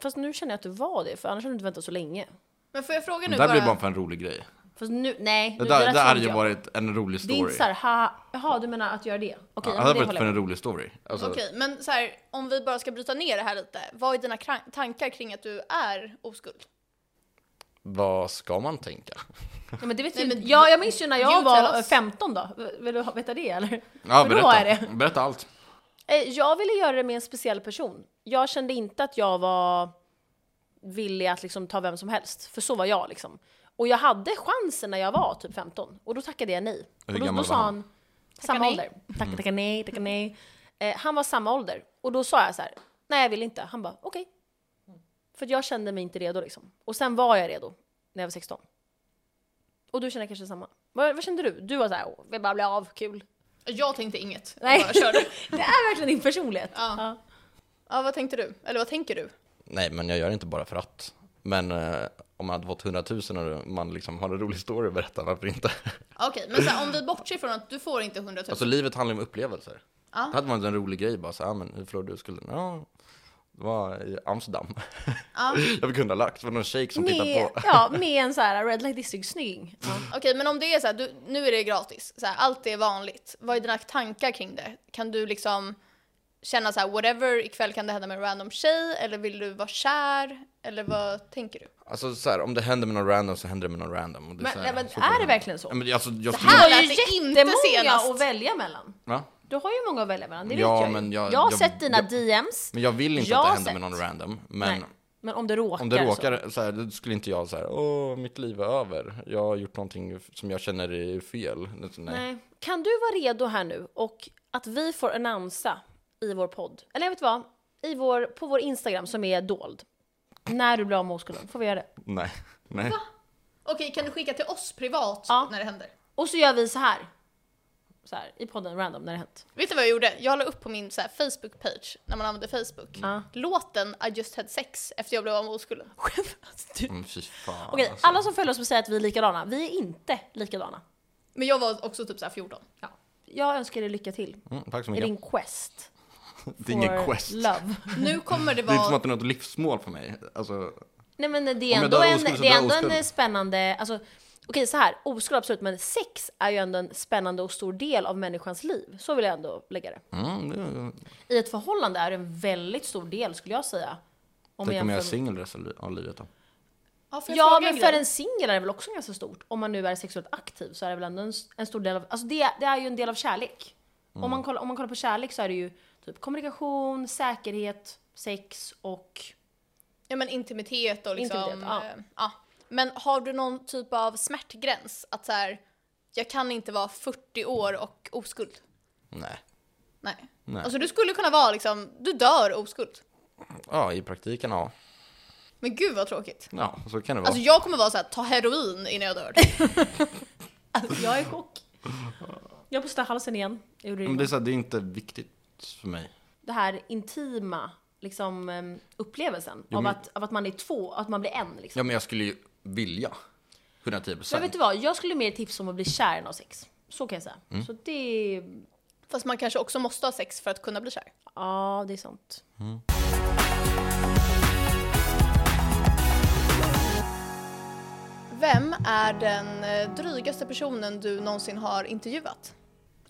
[SPEAKER 2] Fast nu känner jag att du var det, för annars hade du inte väntat så länge.
[SPEAKER 1] Men får jag fråga
[SPEAKER 3] Det
[SPEAKER 1] nu
[SPEAKER 3] där
[SPEAKER 1] bara,
[SPEAKER 3] blir bara för en rolig grej.
[SPEAKER 2] Fast nu, nej.
[SPEAKER 3] Det
[SPEAKER 2] nu,
[SPEAKER 3] där, det hade
[SPEAKER 2] trodde
[SPEAKER 3] ju
[SPEAKER 2] jag.
[SPEAKER 3] varit en rolig
[SPEAKER 2] Det är inte såhär,
[SPEAKER 3] story.
[SPEAKER 2] haha, jaha du menar att göra det? Okej,
[SPEAKER 3] Ja,
[SPEAKER 2] ja,
[SPEAKER 3] det hade
[SPEAKER 2] det
[SPEAKER 3] varit
[SPEAKER 2] håller
[SPEAKER 3] för
[SPEAKER 2] jag
[SPEAKER 3] en
[SPEAKER 2] med.
[SPEAKER 3] rolig story. Alltså,
[SPEAKER 1] Okej, men så här, om vi bara ska bryta ner det här lite. Vad är dina kran- tankar kring att du är oskuld?
[SPEAKER 3] Vad ska man tänka?
[SPEAKER 2] ja, men det vet
[SPEAKER 1] Nej,
[SPEAKER 2] ju,
[SPEAKER 1] men-
[SPEAKER 2] ja, jag minns ju när jag
[SPEAKER 1] Guilt
[SPEAKER 2] var
[SPEAKER 1] tell us.
[SPEAKER 2] 15 då. Vill du ha- veta det eller?
[SPEAKER 3] Ja,
[SPEAKER 2] För då
[SPEAKER 3] berätta.
[SPEAKER 2] är det.
[SPEAKER 3] berätta allt.
[SPEAKER 2] Eh, Jag ville göra det med en speciell person. Jag kände inte att jag var villig att liksom ta vem som helst, för så var jag liksom. Och jag hade chansen när jag var typ 15, och då tackade jag nej.
[SPEAKER 3] Hur
[SPEAKER 2] och då, då
[SPEAKER 3] gammal
[SPEAKER 2] sa
[SPEAKER 3] var
[SPEAKER 2] han,
[SPEAKER 3] han? Mm.
[SPEAKER 2] samma
[SPEAKER 1] nej.
[SPEAKER 2] ålder. Tacka, tacka nej, tacka nej. Eh, han var samma ålder, och då sa jag så här, nej jag vill inte. Han bara, okej. För att jag kände mig inte redo liksom. Och sen var jag redo, när jag var 16. Och du känner kanske samma. Vad, vad kände du? Du var så här, "Åh, vill bara bli av, kul.
[SPEAKER 1] Jag tänkte inget.
[SPEAKER 2] Nej.
[SPEAKER 1] Jag bara körde.
[SPEAKER 2] Det är verkligen din personlighet.
[SPEAKER 1] Ja.
[SPEAKER 2] Ja.
[SPEAKER 1] Ja, vad tänkte du? Eller vad tänker du?
[SPEAKER 3] Nej, men jag gör det inte bara för att. Men eh, om man hade fått 100 000 och man liksom har en rolig story att berätta, varför inte?
[SPEAKER 1] Okej, men så här, om vi bortser från att du får inte 100 000.
[SPEAKER 3] Alltså livet handlar ju om upplevelser.
[SPEAKER 1] Ja.
[SPEAKER 3] Det hade varit en rolig grej bara så, ja men hur förlorade du skulden? Ja, det var i Amsterdam.
[SPEAKER 1] Ja.
[SPEAKER 3] jag fick hundralax, det var någon shejk som tittade
[SPEAKER 2] Med,
[SPEAKER 3] på. Mm.
[SPEAKER 2] ja, med en så här red light district snygging.
[SPEAKER 1] Okej, men om det är så här, du, nu är det gratis, så här, allt är vanligt. Vad är dina tankar kring det? Kan du liksom känna så här, whatever, ikväll kan det hända med en random tjej, eller vill du vara kär? Eller vad tänker du?
[SPEAKER 3] Alltså så här, om det händer med någon random så händer det med någon random. Och det är
[SPEAKER 2] Men,
[SPEAKER 3] så här,
[SPEAKER 2] nej, men
[SPEAKER 3] så
[SPEAKER 2] är det verkligen så?
[SPEAKER 3] Ja, men alltså, jag
[SPEAKER 1] här-
[SPEAKER 3] skulle...
[SPEAKER 2] Du har
[SPEAKER 1] lät
[SPEAKER 2] ju
[SPEAKER 1] det
[SPEAKER 2] jättemånga
[SPEAKER 1] inte senast.
[SPEAKER 2] att välja mellan.
[SPEAKER 3] Va?
[SPEAKER 2] Du har ju många att välja mellan, det
[SPEAKER 3] Ja,
[SPEAKER 2] vet jag
[SPEAKER 3] men
[SPEAKER 2] ju.
[SPEAKER 3] jag-
[SPEAKER 2] Jag har
[SPEAKER 3] jag-
[SPEAKER 2] sett dina
[SPEAKER 3] jag-
[SPEAKER 2] DMs.
[SPEAKER 3] Men jag vill inte
[SPEAKER 2] Jag
[SPEAKER 3] att det
[SPEAKER 2] har
[SPEAKER 3] händer med
[SPEAKER 2] sett.
[SPEAKER 3] någon random. Men
[SPEAKER 2] Men, men om det råkar
[SPEAKER 3] om det
[SPEAKER 2] så.
[SPEAKER 3] råkar så här, då skulle inte jag så här, åh mitt liv är över. Jag har gjort någonting som jag känner är fel. Nej.
[SPEAKER 2] Nej. Kan du vara redo här nu och att vi får annonsa i vår podd? Eller jag vet vad? I vår, på vår Instagram som är dold. När du blir av med oskulden, får vi göra det?
[SPEAKER 3] Nej. Nej.
[SPEAKER 1] Okej, kan du skicka till oss privat
[SPEAKER 2] Ja.
[SPEAKER 1] när det händer?
[SPEAKER 2] Och så gör vi så här. Så här, i podden random när det hänt.
[SPEAKER 1] Vet du vad jag gjorde? Jag la upp på min så här, Facebook-page, när man använder Facebook,
[SPEAKER 2] Ja.
[SPEAKER 1] låten I just had sex efter jag blev av med oskulden.
[SPEAKER 2] Skämmas du?
[SPEAKER 3] Mm, fy fan.
[SPEAKER 2] Okej,
[SPEAKER 3] alltså.
[SPEAKER 2] alla som följer oss och säger att vi är likadana, vi är inte likadana.
[SPEAKER 1] Men jag var också typ så här 14.
[SPEAKER 2] Jag önskar dig lycka till
[SPEAKER 3] Mm, tack så
[SPEAKER 2] i
[SPEAKER 3] mycket.
[SPEAKER 2] din quest.
[SPEAKER 3] Det är ingen
[SPEAKER 2] for
[SPEAKER 3] quest.
[SPEAKER 2] Love.
[SPEAKER 1] Nu kommer det
[SPEAKER 3] Det är inte som
[SPEAKER 1] vara...
[SPEAKER 3] att det är något livsmål för mig. Alltså,
[SPEAKER 2] Nej men eh, det är
[SPEAKER 3] jag
[SPEAKER 2] ändå
[SPEAKER 3] dör
[SPEAKER 2] en,
[SPEAKER 3] oskuld så
[SPEAKER 2] det
[SPEAKER 3] dör
[SPEAKER 2] är ändå en
[SPEAKER 3] oskuld.
[SPEAKER 2] spännande, alltså okej så här, oskuld absolut men sex är ju ändå en spännande och stor del av människans liv. Så vill jag ändå lägga det.
[SPEAKER 3] mm, det,
[SPEAKER 2] I ett förhållande är det en väldigt stor del skulle jag säga. Om
[SPEAKER 3] tänk om jag är
[SPEAKER 2] jämför-
[SPEAKER 3] singel resten av livet då.
[SPEAKER 1] Ja, får jag
[SPEAKER 2] Ja
[SPEAKER 1] fråga
[SPEAKER 2] men
[SPEAKER 1] en
[SPEAKER 2] för
[SPEAKER 1] grej?
[SPEAKER 2] en singel är det väl också ganska stort. Om man nu är sexuellt aktiv så är det väl ändå en, s- en stor del av, alltså det, det är ju en del av kärlek.
[SPEAKER 3] Mm.
[SPEAKER 2] Om, man kollar, om man kollar på kärlek så är det ju typ kommunikation, säkerhet, sex och
[SPEAKER 1] Ja men intimitet och liksom...
[SPEAKER 2] Intimitet, ja.
[SPEAKER 1] eh, ja. Men har du någon typ av smärtgräns? Att så här, jag kan inte vara 40 år och oskuld?
[SPEAKER 3] Nej.
[SPEAKER 1] Nej.
[SPEAKER 3] Nej.
[SPEAKER 1] Alltså du skulle kunna vara liksom, du dör oskuld.
[SPEAKER 3] Ja, i praktiken ja.
[SPEAKER 1] Men gud vad tråkigt.
[SPEAKER 3] Ja, så kan det vara.
[SPEAKER 1] Alltså jag kommer vara så här, ta heroin innan jag dör.
[SPEAKER 2] Alltså, jag är i chock. Jag borstar halsen igen. Jag gjorde det,
[SPEAKER 3] men det, är
[SPEAKER 2] innan.
[SPEAKER 3] så här, det är inte viktigt för mig.
[SPEAKER 2] det här intima liksom, em, upplevelsen
[SPEAKER 3] Jo,
[SPEAKER 2] av,
[SPEAKER 3] men-
[SPEAKER 2] att, av att man är två, att man blir en. Liksom.
[SPEAKER 3] Ja, men jag skulle ju vilja. 110
[SPEAKER 2] Men vet
[SPEAKER 3] procent.
[SPEAKER 2] du vad, jag skulle mer tipsa om att bli kär än av sex. Så kan jag säga.
[SPEAKER 3] Mm.
[SPEAKER 2] Så det...
[SPEAKER 1] Fast man kanske också måste ha sex för att kunna bli kär.
[SPEAKER 2] Ja, det är sant.
[SPEAKER 1] Vem är den eh, drygaste personen du någonsin har intervjuat?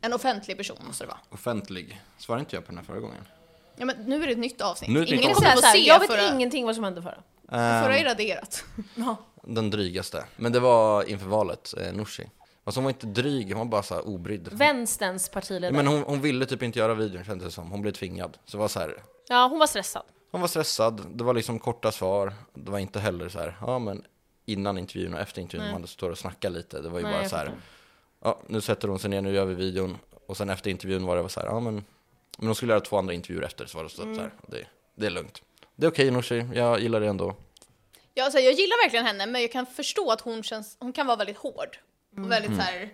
[SPEAKER 1] En offentlig person måste det vara.
[SPEAKER 3] Offentlig. Svarade inte jag på den här förra gången?
[SPEAKER 1] Ja men nu är det ett nytt avsnitt.
[SPEAKER 3] Nu är det ett
[SPEAKER 1] Ingen
[SPEAKER 3] nytt
[SPEAKER 2] Jag,
[SPEAKER 3] avsnitt.
[SPEAKER 1] kommer
[SPEAKER 2] säga
[SPEAKER 3] Ehm.
[SPEAKER 1] få
[SPEAKER 2] så här,
[SPEAKER 1] se
[SPEAKER 2] jag vet
[SPEAKER 1] förra,
[SPEAKER 2] ingenting vad som hände förra.
[SPEAKER 1] förra är raderat.
[SPEAKER 2] Ja.
[SPEAKER 3] Den drygaste. Men det var inför valet, eh, Nooshi. Fast hon var inte dryg, hon var bara så här obrydd.
[SPEAKER 2] Vänsterns partiledare.
[SPEAKER 3] Men hon, hon ville typ inte göra videon kändes det som. Hon blev tvingad. Så det var så här,
[SPEAKER 2] Ja, hon var stressad.
[SPEAKER 3] hon var stressad, det var liksom korta svar. Det var inte heller så här, ja men innan intervjun och efter intervjun, man står och snackar lite. Det var ju
[SPEAKER 2] Nej,
[SPEAKER 3] bara
[SPEAKER 2] jag
[SPEAKER 3] så här,
[SPEAKER 2] fattar.
[SPEAKER 3] ja nu sätter hon sig ner, nu gör vi videon. Och sen efter intervjun var det så här, ja men, men hon skulle göra två andra intervjuer efter. Så var det så, så här,
[SPEAKER 2] Mm.
[SPEAKER 3] det, det är lugnt. Det är okej Nooshi, jag gillar det ändå.
[SPEAKER 1] Ja, alltså, jag gillar verkligen henne men jag kan förstå att hon, känns, hon kan vara väldigt hård. Och väldigt
[SPEAKER 3] Mm.
[SPEAKER 1] så här,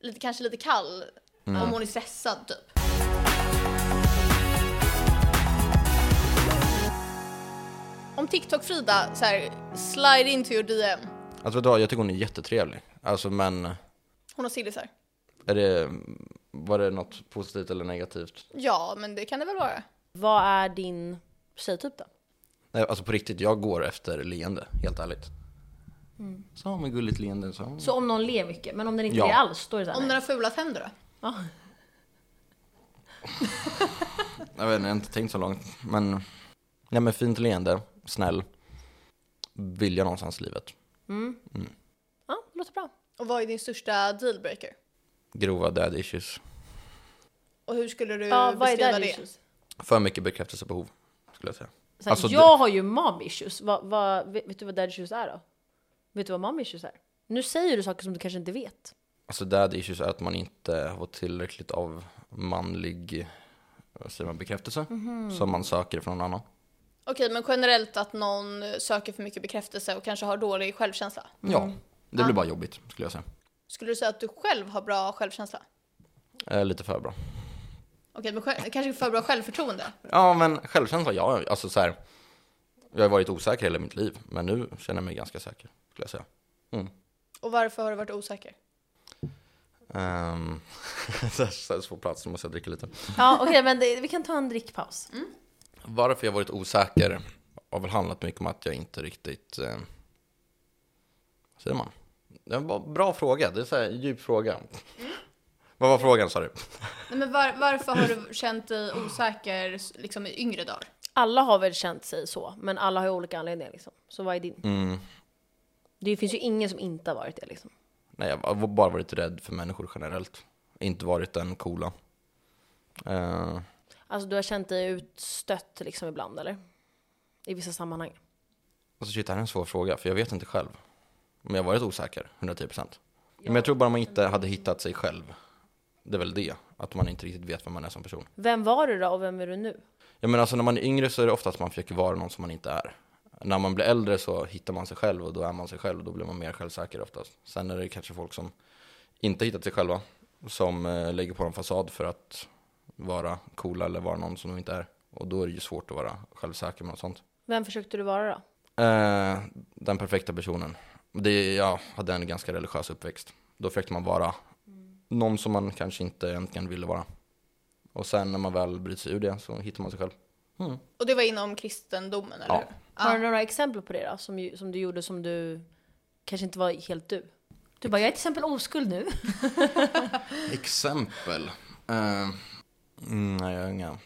[SPEAKER 1] lite, kanske lite kall om hon är stressad typ. som TikTok-Frida, så här, slide into your DM.
[SPEAKER 3] Alltså vet du vad, jag tycker hon är jättetrevlig. Alltså men,
[SPEAKER 1] Hon har sillisar.
[SPEAKER 3] är det, var det något positivt eller negativt?
[SPEAKER 1] Ja, men det kan det väl vara.
[SPEAKER 2] Vad är din tjejtyp då?
[SPEAKER 3] Nej, alltså på riktigt, jag går efter leende, helt ärligt. Så har man gulligt leende så. har man-
[SPEAKER 2] Så om någon ler mycket, men om den inte
[SPEAKER 3] Ja.
[SPEAKER 2] ler alls, då är det såhär,
[SPEAKER 1] Om den
[SPEAKER 2] nej.
[SPEAKER 1] har fula tänder då?
[SPEAKER 2] Ja.
[SPEAKER 3] Jag vet inte, jag har inte tänkt så långt. Men, nej men fint leende, snäll. Vill jag någonstans i livet.
[SPEAKER 2] ja, det låter bra.
[SPEAKER 1] Och vad är din största dealbreaker?
[SPEAKER 3] Grova dad issues.
[SPEAKER 1] Och hur skulle du
[SPEAKER 2] Ja, vad är
[SPEAKER 1] beskriva
[SPEAKER 2] där
[SPEAKER 1] det?
[SPEAKER 2] issues?
[SPEAKER 3] För mycket bekräftelsebehov, skulle jag säga.
[SPEAKER 2] Såhär,
[SPEAKER 3] Alltså,
[SPEAKER 2] jag har ju mom issues. Vad- vad- vet, vet du vad dad issues är då? Vet du vad mom issues är? Nu säger du saker som du kanske inte vet.
[SPEAKER 3] Alltså dad issues är att man inte har fått tillräckligt av manlig vad säger man, bekräftelse som man söker från någon annan.
[SPEAKER 1] Okej, men generellt att någon söker för mycket bekräftelse och kanske har dålig självkänsla.
[SPEAKER 3] Ja, det blir bara jobbigt skulle jag säga.
[SPEAKER 1] Skulle du säga att du själv har bra självkänsla?
[SPEAKER 3] Eh, lite för bra.
[SPEAKER 1] Okej, men själv, kanske för bra självförtroende?
[SPEAKER 3] Ja, men självkänsla, ja. Alltså så här, jag har varit osäker hela mitt liv, men nu känner jag mig ganska säker skulle jag säga.
[SPEAKER 1] Och varför har du varit osäker?
[SPEAKER 3] Um, så här, så här svår plats, nu måste jag dricka lite.
[SPEAKER 2] Ja okej men det, vi kan ta en drickpaus.
[SPEAKER 3] Varför jag varit osäker har väl handlat mycket om att jag inte riktigt... Eh, vad säger man? Det var en bra fråga, det är så här en djup fråga. Vad var frågan sa du?
[SPEAKER 1] Nej, men var, varför har du känt dig osäker liksom, i yngre dagar?
[SPEAKER 2] Alla har väl känt sig så, men alla har ju olika anledningar liksom. Så vad är din?
[SPEAKER 3] Mm.
[SPEAKER 2] Det finns ju ingen som inte har varit det liksom.
[SPEAKER 3] Nej, jag har bara varit rädd för människor generellt. Inte varit den coola. Eh,
[SPEAKER 2] Alltså du har känt dig utstött liksom ibland eller? I vissa sammanhang.
[SPEAKER 3] alltså shit, det här är en svår fråga, för jag vet inte själv. Men jag har varit osäker, 110%. Men jag tror bara man inte hade hittat sig själv. Det är väl det, att man inte riktigt vet vem man är som person.
[SPEAKER 2] Vem var du då och vem är du nu?
[SPEAKER 3] Ja men alltså när man är yngre så är det ofta att man försöker vara någon som man inte är. När man blir äldre så hittar man sig själv och då är man sig själv och då blir man mer självsäker oftast. Sen är det kanske folk som inte hittat sig själva som eh, lägger på en fasad för att vara coola eller vara någon som de inte är. Och då är det ju svårt att vara självsäker med något sånt.
[SPEAKER 2] Vem försökte du vara då?
[SPEAKER 3] Eh, den perfekta personen. Det, jag hade en ganska religiös uppväxt. Då försökte man vara någon som man kanske inte egentligen ville vara. Och sen när man väl bryter sig ur det så hittar man sig själv.
[SPEAKER 1] Och det var inom kristendomen, eller
[SPEAKER 3] Ja.
[SPEAKER 1] hur?
[SPEAKER 2] Har du några exempel på det då? Som, ju- som du gjorde som du kanske inte var helt du? Du bara, jag är till exempel oskuld nu.
[SPEAKER 3] Exempel? Eh, mm, nej, jag har inga.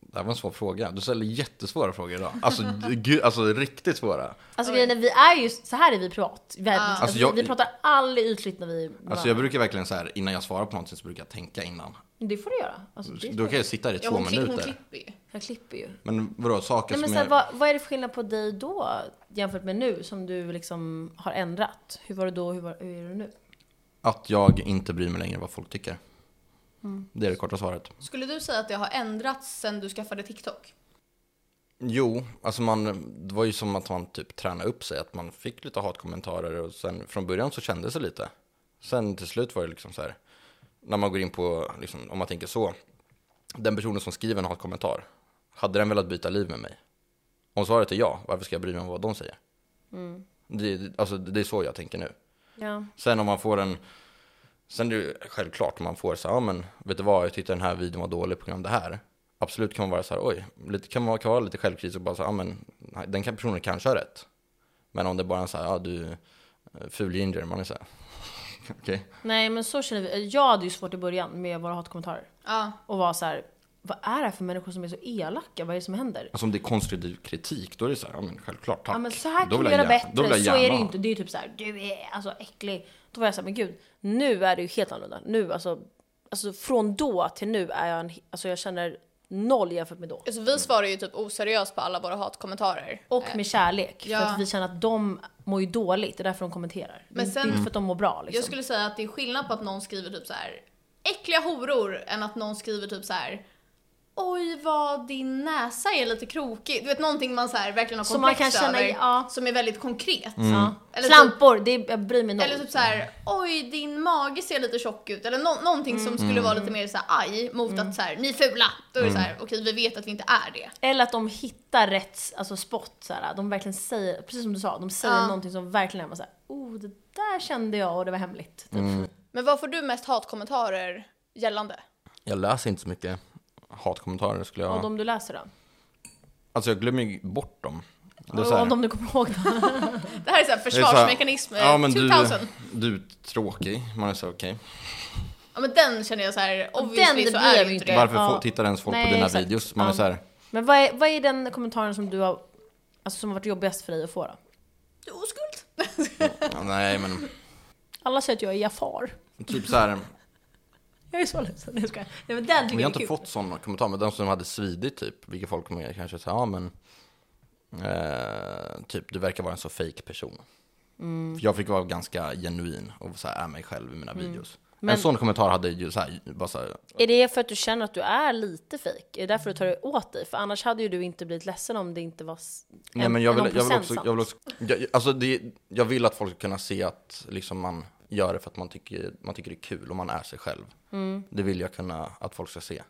[SPEAKER 3] Det här var en svår fråga. Du ställer jättesvåra frågor idag. Alltså, gud, alltså riktigt svåra.
[SPEAKER 2] Alltså grejen är, vi är ju, så här är vi privat. Vi, är,
[SPEAKER 3] Alltså,
[SPEAKER 2] vi,
[SPEAKER 3] jag-
[SPEAKER 2] vi pratar aldrig ytligt när vi
[SPEAKER 3] Alltså jag brukar verkligen så här, innan jag svarar på någonting så brukar jag tänka innan.
[SPEAKER 2] Det får du göra. Alltså, det
[SPEAKER 3] Då kan jag sitta här i
[SPEAKER 1] Ja,
[SPEAKER 3] två
[SPEAKER 1] hon, klipp, hon
[SPEAKER 3] minuter.
[SPEAKER 1] klipper ju.
[SPEAKER 2] Jag klipper ju.
[SPEAKER 3] Men vadå, saker
[SPEAKER 2] Nej, men
[SPEAKER 3] som
[SPEAKER 2] så här,
[SPEAKER 3] jag...
[SPEAKER 2] vad, vad är det för skillnad på dig då jämfört med nu som du liksom har ändrat? Hur var du då och hur, var, hur är du nu?
[SPEAKER 3] Att jag inte bryr mig längre vad folk tycker. Det är det korta svaret.
[SPEAKER 1] Skulle du säga att det har ändrats sen du skaffade TikTok?
[SPEAKER 3] Jo, alltså man, det var ju som att man typ tränade upp sig, att man fick lite hatkommentarer och sen från början så kändes det lite. Sen till slut var det liksom så här, när man går in på, liksom, om man tänker så, den personen som skriver en hatkommentar, hade den velat byta liv med mig? Om svaret är ja, varför ska jag bry mig om vad de säger? Det, det- alltså, det är så jag tänker nu.
[SPEAKER 2] Ja.
[SPEAKER 3] Sen om man får en... Sen är det ju självklart om man får så här, ja men vet du vad, jag tyckte den här videon var dålig på grund av det här. Absolut kan man vara så här, oj, lite, kan man kan vara lite självkritisk och bara så här, ja men den kan, personen kanske har rätt. Men om det är bara är så här, ja du, eh, ful ginger, man är så här, okej.
[SPEAKER 2] Nej men så känner vi. Jag hade ju svårt i början med våra hatkommentarer.
[SPEAKER 1] Ja.
[SPEAKER 2] Och var så här, vad är det här för människor som är så elaka? Vad är det som händer?
[SPEAKER 3] Alltså om det är konstruktiv kritik, då är det så här, ja men självklart, tack.
[SPEAKER 2] Ja men så här
[SPEAKER 3] Då
[SPEAKER 2] kan
[SPEAKER 3] vill
[SPEAKER 2] du
[SPEAKER 3] jag
[SPEAKER 2] göra
[SPEAKER 3] gärna- då
[SPEAKER 2] bättre,
[SPEAKER 3] vill
[SPEAKER 2] så
[SPEAKER 3] jag
[SPEAKER 2] är det ju
[SPEAKER 3] gärna ha.
[SPEAKER 2] inte. Det är ju typ så här, du är alltså äcklig. Då var jag såhär, men gud, nu är det ju helt annorlunda. Nu alltså, alltså från då till nu är jag en, alltså jag känner noll jämfört med då.
[SPEAKER 1] Alltså, vi svarar ju typ oseriöst på alla våra hatkommentarer.
[SPEAKER 2] Och med kärlek,
[SPEAKER 1] ja.
[SPEAKER 2] för att vi känner att de mår ju dåligt, det är därför de kommenterar. Men det
[SPEAKER 1] sen-
[SPEAKER 2] är inte för att de mår bra liksom.
[SPEAKER 1] Jag skulle säga att det är skillnad på att någon skriver typ så här äckliga horor än att någon skriver typ så här oj vad din näsa är lite krokig. Du vet någonting man så här, verkligen har
[SPEAKER 2] Som man
[SPEAKER 1] komplex
[SPEAKER 2] kan känna
[SPEAKER 1] över.
[SPEAKER 2] i- ja.
[SPEAKER 1] Som är väldigt konkret.
[SPEAKER 2] Ja.
[SPEAKER 1] Eller
[SPEAKER 2] Slampor, det är, jag bryr mig noll.
[SPEAKER 1] Eller typ så här, oj din mage ser lite tjock ut. Eller nå- någonting som skulle vara lite mer så här, aj mot att så här, ni är fula. Då är det så här, okej vi vet att vi inte är det.
[SPEAKER 2] Eller att de hittar rätt alltså spot, så här. de verkligen säger, precis som du sa, de säger
[SPEAKER 1] Ja.
[SPEAKER 2] någonting som verkligen är man såhär, oh det där kände jag och det var hemligt. Typ.
[SPEAKER 1] Men vad får du mest hatkommentarer gällande?
[SPEAKER 3] Jag läser inte så mycket hatkommentarer skulle jag...
[SPEAKER 2] Och de du läser då?
[SPEAKER 3] Alltså jag glömmer ju bort dem. Det är så
[SPEAKER 2] Och
[SPEAKER 3] här-
[SPEAKER 2] om de du kommer ihåg dem.
[SPEAKER 1] Det här är så här
[SPEAKER 3] det är så här-
[SPEAKER 1] försvarsmekanism, ja, men
[SPEAKER 3] du,
[SPEAKER 1] 2000.
[SPEAKER 3] du är tråkig. Man är så här, okej.
[SPEAKER 1] Ja men den känner jag så här, obviously
[SPEAKER 2] det
[SPEAKER 1] så
[SPEAKER 2] blir
[SPEAKER 1] är
[SPEAKER 2] vi
[SPEAKER 1] vi inte
[SPEAKER 2] inte.
[SPEAKER 1] det.
[SPEAKER 3] Varför
[SPEAKER 2] Ja.
[SPEAKER 3] får, tittar ens folk
[SPEAKER 2] Nej,
[SPEAKER 3] på dina
[SPEAKER 2] exakt.
[SPEAKER 3] videos? Man
[SPEAKER 2] Ja.
[SPEAKER 3] är så här,
[SPEAKER 2] Men vad är, vad är den kommentaren som du har, alltså som har varit jobbigast för dig att få då?
[SPEAKER 1] Oskuld!
[SPEAKER 3] ja, nej men
[SPEAKER 2] Alla säger att jag är Jafar.
[SPEAKER 3] typ så här.
[SPEAKER 2] Jag är så ledsen, jag skojar. Nej men den
[SPEAKER 3] Vi
[SPEAKER 2] tycker jag
[SPEAKER 3] har
[SPEAKER 2] är
[SPEAKER 3] inte
[SPEAKER 2] kul.
[SPEAKER 3] fått sådana kommentarer, men de som hade svidit typ, vilka folk kommer kanske säga, ja men eh, typ du verkar vara en så fake person.
[SPEAKER 2] Mm.
[SPEAKER 3] För jag fick vara ganska genuin och så här, är mig själv i mina videos.
[SPEAKER 2] Men-
[SPEAKER 3] En sån kommentar hade ju så här, bara så här,
[SPEAKER 2] Är det för att du känner att du är lite fejk? Är det därför du tar det åt dig? För annars hade ju du inte blivit ledsen om det inte var s- en,
[SPEAKER 3] nej men jag vill,
[SPEAKER 2] någon
[SPEAKER 3] jag vill
[SPEAKER 2] procent
[SPEAKER 3] också,
[SPEAKER 2] sant.
[SPEAKER 3] jag vill också, jag, alltså det, jag vill att folk ska kunna se att liksom man gör det för att man tycker, man tycker det är kul och man är sig själv.
[SPEAKER 2] Mm.
[SPEAKER 3] Det vill jag kunna, att folk ska se.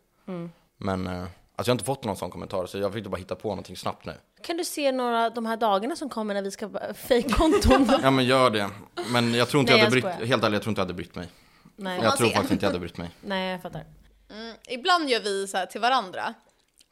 [SPEAKER 3] Men, eh, alltså jag har inte fått någon sån kommentar så jag fick bara hitta på någonting snabbt nu.
[SPEAKER 2] Kan du se några de här dagarna som kommer när vi ska vara fejkkonton?
[SPEAKER 3] Ja men gör det. Men jag tror inte
[SPEAKER 2] Nej,
[SPEAKER 3] jag hade
[SPEAKER 2] jag
[SPEAKER 3] brytt,
[SPEAKER 2] skojar.
[SPEAKER 3] helt ärligt jag tror inte jag hade brytt mig.
[SPEAKER 2] nej,
[SPEAKER 1] man
[SPEAKER 3] Jag tror
[SPEAKER 1] se?
[SPEAKER 3] faktiskt inte jag hade brytt mig.
[SPEAKER 2] nej, jag fattar.
[SPEAKER 1] Ibland gör vi så här till varandra,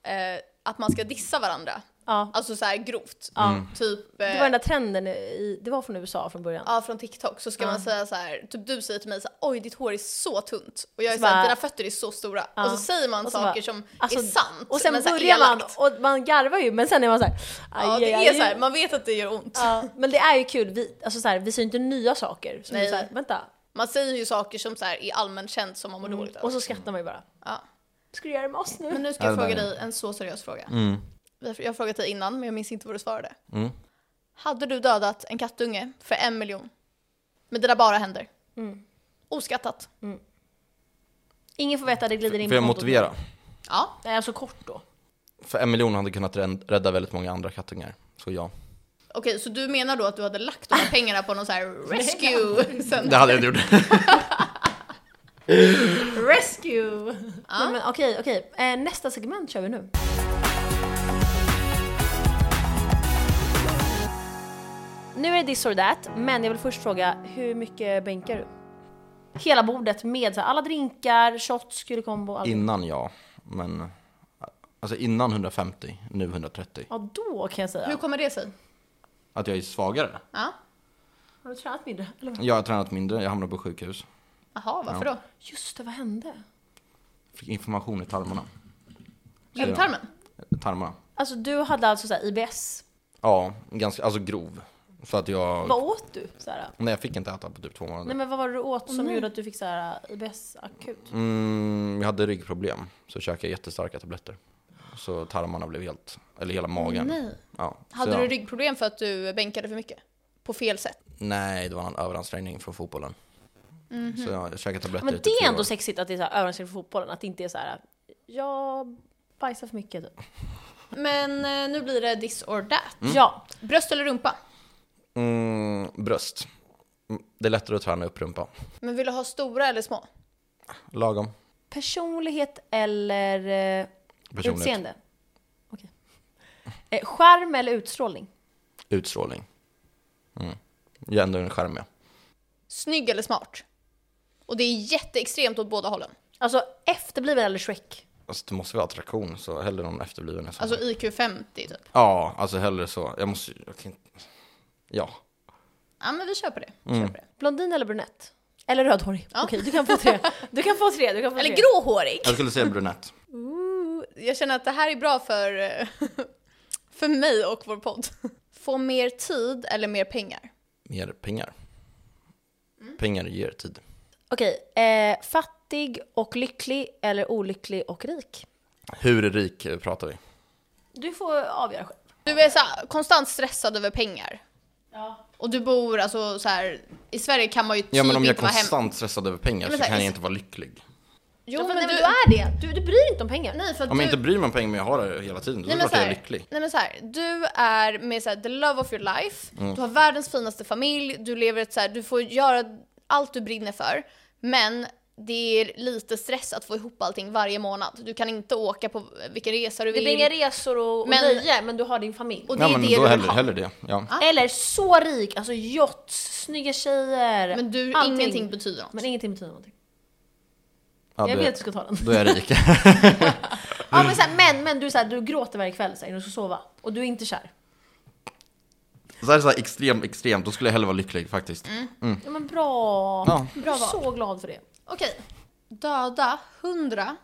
[SPEAKER 1] eh, att man ska dissa varandra.
[SPEAKER 2] Ja.
[SPEAKER 1] Alltså så här grovt.
[SPEAKER 3] Mm.
[SPEAKER 1] Typ, eh,
[SPEAKER 2] Det var den där trenden, i, det var från USA från början.
[SPEAKER 1] ja, från TikTok så ska man säga så här, typ du säger till mig så här, oj ditt hår är så tunt. Och jag är
[SPEAKER 2] Så
[SPEAKER 1] så här,
[SPEAKER 2] bara-
[SPEAKER 1] dina fötter är så stora. Och så säger man
[SPEAKER 2] Och så
[SPEAKER 1] saker
[SPEAKER 2] bara,
[SPEAKER 1] som
[SPEAKER 2] alltså,
[SPEAKER 1] är sant.
[SPEAKER 2] Och sen
[SPEAKER 1] men så här
[SPEAKER 2] börjar man,
[SPEAKER 1] elakt.
[SPEAKER 2] och man garvar ju men sen är man såhär,
[SPEAKER 1] Ja det är så här, man vet att det gör ont.
[SPEAKER 2] Ja, men det är ju kul, vi, alltså så här, vi ser ju inte nya saker. Som
[SPEAKER 1] Nej.
[SPEAKER 2] är så här, vänta. Mm.
[SPEAKER 1] Man säger ju saker som så här, är allmänt känt som man mår dåligt
[SPEAKER 2] Och
[SPEAKER 1] över.
[SPEAKER 2] så skrattar man ju bara.
[SPEAKER 1] Ja.
[SPEAKER 2] Ska du göra det med oss nu?
[SPEAKER 1] Men nu ska jag
[SPEAKER 3] Ja, det
[SPEAKER 1] fråga
[SPEAKER 3] där är-
[SPEAKER 1] dig en så seriös fråga. Vi har- Jag har frågat dig innan men jag minns inte vad du svarade.
[SPEAKER 3] Mm.
[SPEAKER 1] Hade du dödat en kattunge för en miljon? Med dina bara händer?
[SPEAKER 2] Mm.
[SPEAKER 1] Oskattat?
[SPEAKER 2] Ingen får veta, det glider in
[SPEAKER 3] Får jag
[SPEAKER 2] kontot.
[SPEAKER 3] motivera?
[SPEAKER 1] Ja.
[SPEAKER 2] Nej, alltså kort då.
[SPEAKER 3] För en miljon hade kunnat rän- rädda väldigt många andra kattungar. Så ja.
[SPEAKER 1] Okej, så du menar då att du hade lagt de här pengarna på någon sån här rescue? Sen,
[SPEAKER 3] Det hade jag gjort.
[SPEAKER 2] Rescue! Nej, men okej, okej. Eh, nästa segment kör vi nu. Nu är det this or that, men jag vill först fråga hur mycket bänkar du? Hela bordet med så här, alla drinkar, shots, kulikombo, allt.
[SPEAKER 3] Innan ja, men alltså innan 150, nu 130.
[SPEAKER 2] Ja, då kan jag säga.
[SPEAKER 1] Hur kommer det sig?
[SPEAKER 3] Att jag är svagare.
[SPEAKER 1] Ja.
[SPEAKER 2] Har du tränat mindre? Eller vad?
[SPEAKER 3] Jag har tränat mindre, jag hamnade på sjukhus.
[SPEAKER 1] Jaha, varför då?
[SPEAKER 2] Just det, vad hände?
[SPEAKER 3] Fick information i tarmarna.
[SPEAKER 1] Ändtarmen?
[SPEAKER 3] Tarmarna.
[SPEAKER 2] Alltså du hade alltså så här, IBS.
[SPEAKER 3] Ja, ganska, alltså grov. Så att jag,
[SPEAKER 2] Vad åt du? Så här?
[SPEAKER 3] nej jag fick inte äta på typ två månader.
[SPEAKER 2] Nej men vad var det du åt som gjorde att du fick så här, äh, IBS akut?
[SPEAKER 3] Mm, jag hade ryggproblem, så käkade jag jättestarka tabletter. Så tarmarna blev helt, eller hela magen.
[SPEAKER 1] Nej.
[SPEAKER 3] Ja, så
[SPEAKER 1] Hade du
[SPEAKER 3] jag,
[SPEAKER 1] ryggproblem för att du bänkade för mycket? På fel sätt?
[SPEAKER 3] Nej, det var en överansträngning från fotbollen. Så jag käkade tabletter
[SPEAKER 2] Mhm. Men
[SPEAKER 3] i typ
[SPEAKER 2] det är
[SPEAKER 3] fyra
[SPEAKER 2] ändå
[SPEAKER 3] år.
[SPEAKER 2] sexigt att det är så här överraskning för fotbollen, att det inte är så här. äh, jag bajsar för mycket typ.
[SPEAKER 1] Men eh, nu blir det this or that.
[SPEAKER 2] Ja,
[SPEAKER 1] Bröst eller rumpa?
[SPEAKER 3] mm, Bröst. Mm, Det är lättare att träna upp rumpa.
[SPEAKER 1] Men vill du ha stora eller små?
[SPEAKER 3] Lagom.
[SPEAKER 2] personlighet eller eh,
[SPEAKER 3] Personlighet.
[SPEAKER 2] utseende? Okej. Eh, skärm eller utstrålning?
[SPEAKER 3] Utstrålning. Mm. Jag är ändå en skärm, ja.
[SPEAKER 1] Snygg eller smart? Och det är jätteextremt åt båda hållen.
[SPEAKER 2] Alltså efterbliven eller Shrek?
[SPEAKER 3] Alltså, det måste vara attraktion, så hellre någon efterbliven. än så.
[SPEAKER 1] Alltså IQ 50 typ.
[SPEAKER 3] ja, alltså hellre så. Jag måste jag kan inte... Ja.
[SPEAKER 1] Ja men vi köper det. Vi
[SPEAKER 3] Mm.
[SPEAKER 1] Köper det.
[SPEAKER 2] Blondin eller brunett? Eller rödhårig? Okej, du kan få tre. Du kan få tre, du kan få
[SPEAKER 1] Eller
[SPEAKER 2] tre.
[SPEAKER 1] gråhårig!
[SPEAKER 3] Jag skulle säga brunett.
[SPEAKER 1] Jag känner att det här är bra för, eh, för mig och vår podd. Få mer tid eller mer pengar?
[SPEAKER 3] Mer pengar.
[SPEAKER 1] Mm.
[SPEAKER 3] Pengar ger tid.
[SPEAKER 2] Okej, eh, fattig och lycklig eller olycklig och rik?
[SPEAKER 3] Hur rik eh, pratar vi?
[SPEAKER 2] Du får avgöra själv.
[SPEAKER 1] Du är så här, konstant stressad över pengar. Och du bor alltså så här, i Sverige kan man ju typ
[SPEAKER 3] Ja men om jag
[SPEAKER 1] inte
[SPEAKER 3] är
[SPEAKER 1] vara hemma.
[SPEAKER 3] konstant stressad över pengar
[SPEAKER 1] men så
[SPEAKER 3] så
[SPEAKER 1] här,
[SPEAKER 3] kan jag
[SPEAKER 1] is-
[SPEAKER 3] inte vara lycklig.
[SPEAKER 1] Jo,
[SPEAKER 2] ja, för,
[SPEAKER 1] men
[SPEAKER 2] nej, men
[SPEAKER 1] du-
[SPEAKER 2] du är det. Du, du bryr dig inte om pengar.
[SPEAKER 1] Nej, för att
[SPEAKER 3] Om jag
[SPEAKER 1] du...
[SPEAKER 3] inte bryr mig om pengar men jag har det hela tiden, då
[SPEAKER 1] Nej
[SPEAKER 3] är det
[SPEAKER 1] men,
[SPEAKER 3] klart
[SPEAKER 1] så
[SPEAKER 3] jag är
[SPEAKER 1] här,
[SPEAKER 3] lycklig.
[SPEAKER 1] nej men så här, du är med så här, the love of your life,
[SPEAKER 3] Mm.
[SPEAKER 1] du har världens finaste familj, du lever ett så här, du får göra allt du brinner för, men det är lite stress att få ihop allting varje månad. Du kan inte åka på vilken resa du
[SPEAKER 2] Det
[SPEAKER 1] vill.
[SPEAKER 2] blir inga resor och,
[SPEAKER 1] Men-
[SPEAKER 2] och nöje, men du har din familj. Ah.
[SPEAKER 1] och det
[SPEAKER 3] Ja
[SPEAKER 1] är
[SPEAKER 3] men
[SPEAKER 1] det du
[SPEAKER 3] då
[SPEAKER 1] vill
[SPEAKER 3] hellre,
[SPEAKER 1] ha.
[SPEAKER 3] hellre det. Ja.
[SPEAKER 2] Eller så rik, alltså yachts, snygga tjejer.
[SPEAKER 1] Men du,
[SPEAKER 2] allting.
[SPEAKER 1] ingenting betyder något.
[SPEAKER 2] Men ingenting betyder någonting.
[SPEAKER 3] Ja,
[SPEAKER 2] jag
[SPEAKER 3] då,
[SPEAKER 2] vet att du ska ta den.
[SPEAKER 3] då är jag rik.
[SPEAKER 2] Ja, men, så här, men, men du, är så här, du gråter varje kväll så här, när du ska sova och du är inte kär.
[SPEAKER 3] så här, är så här extremt, extremt, då skulle jag hellre vara lycklig faktiskt.
[SPEAKER 1] Mm.
[SPEAKER 2] Ja, men bra!
[SPEAKER 3] Mm. Ja.
[SPEAKER 2] Jag
[SPEAKER 1] Bra
[SPEAKER 2] är
[SPEAKER 1] val.
[SPEAKER 2] så glad för det.
[SPEAKER 1] Okej, döda hundra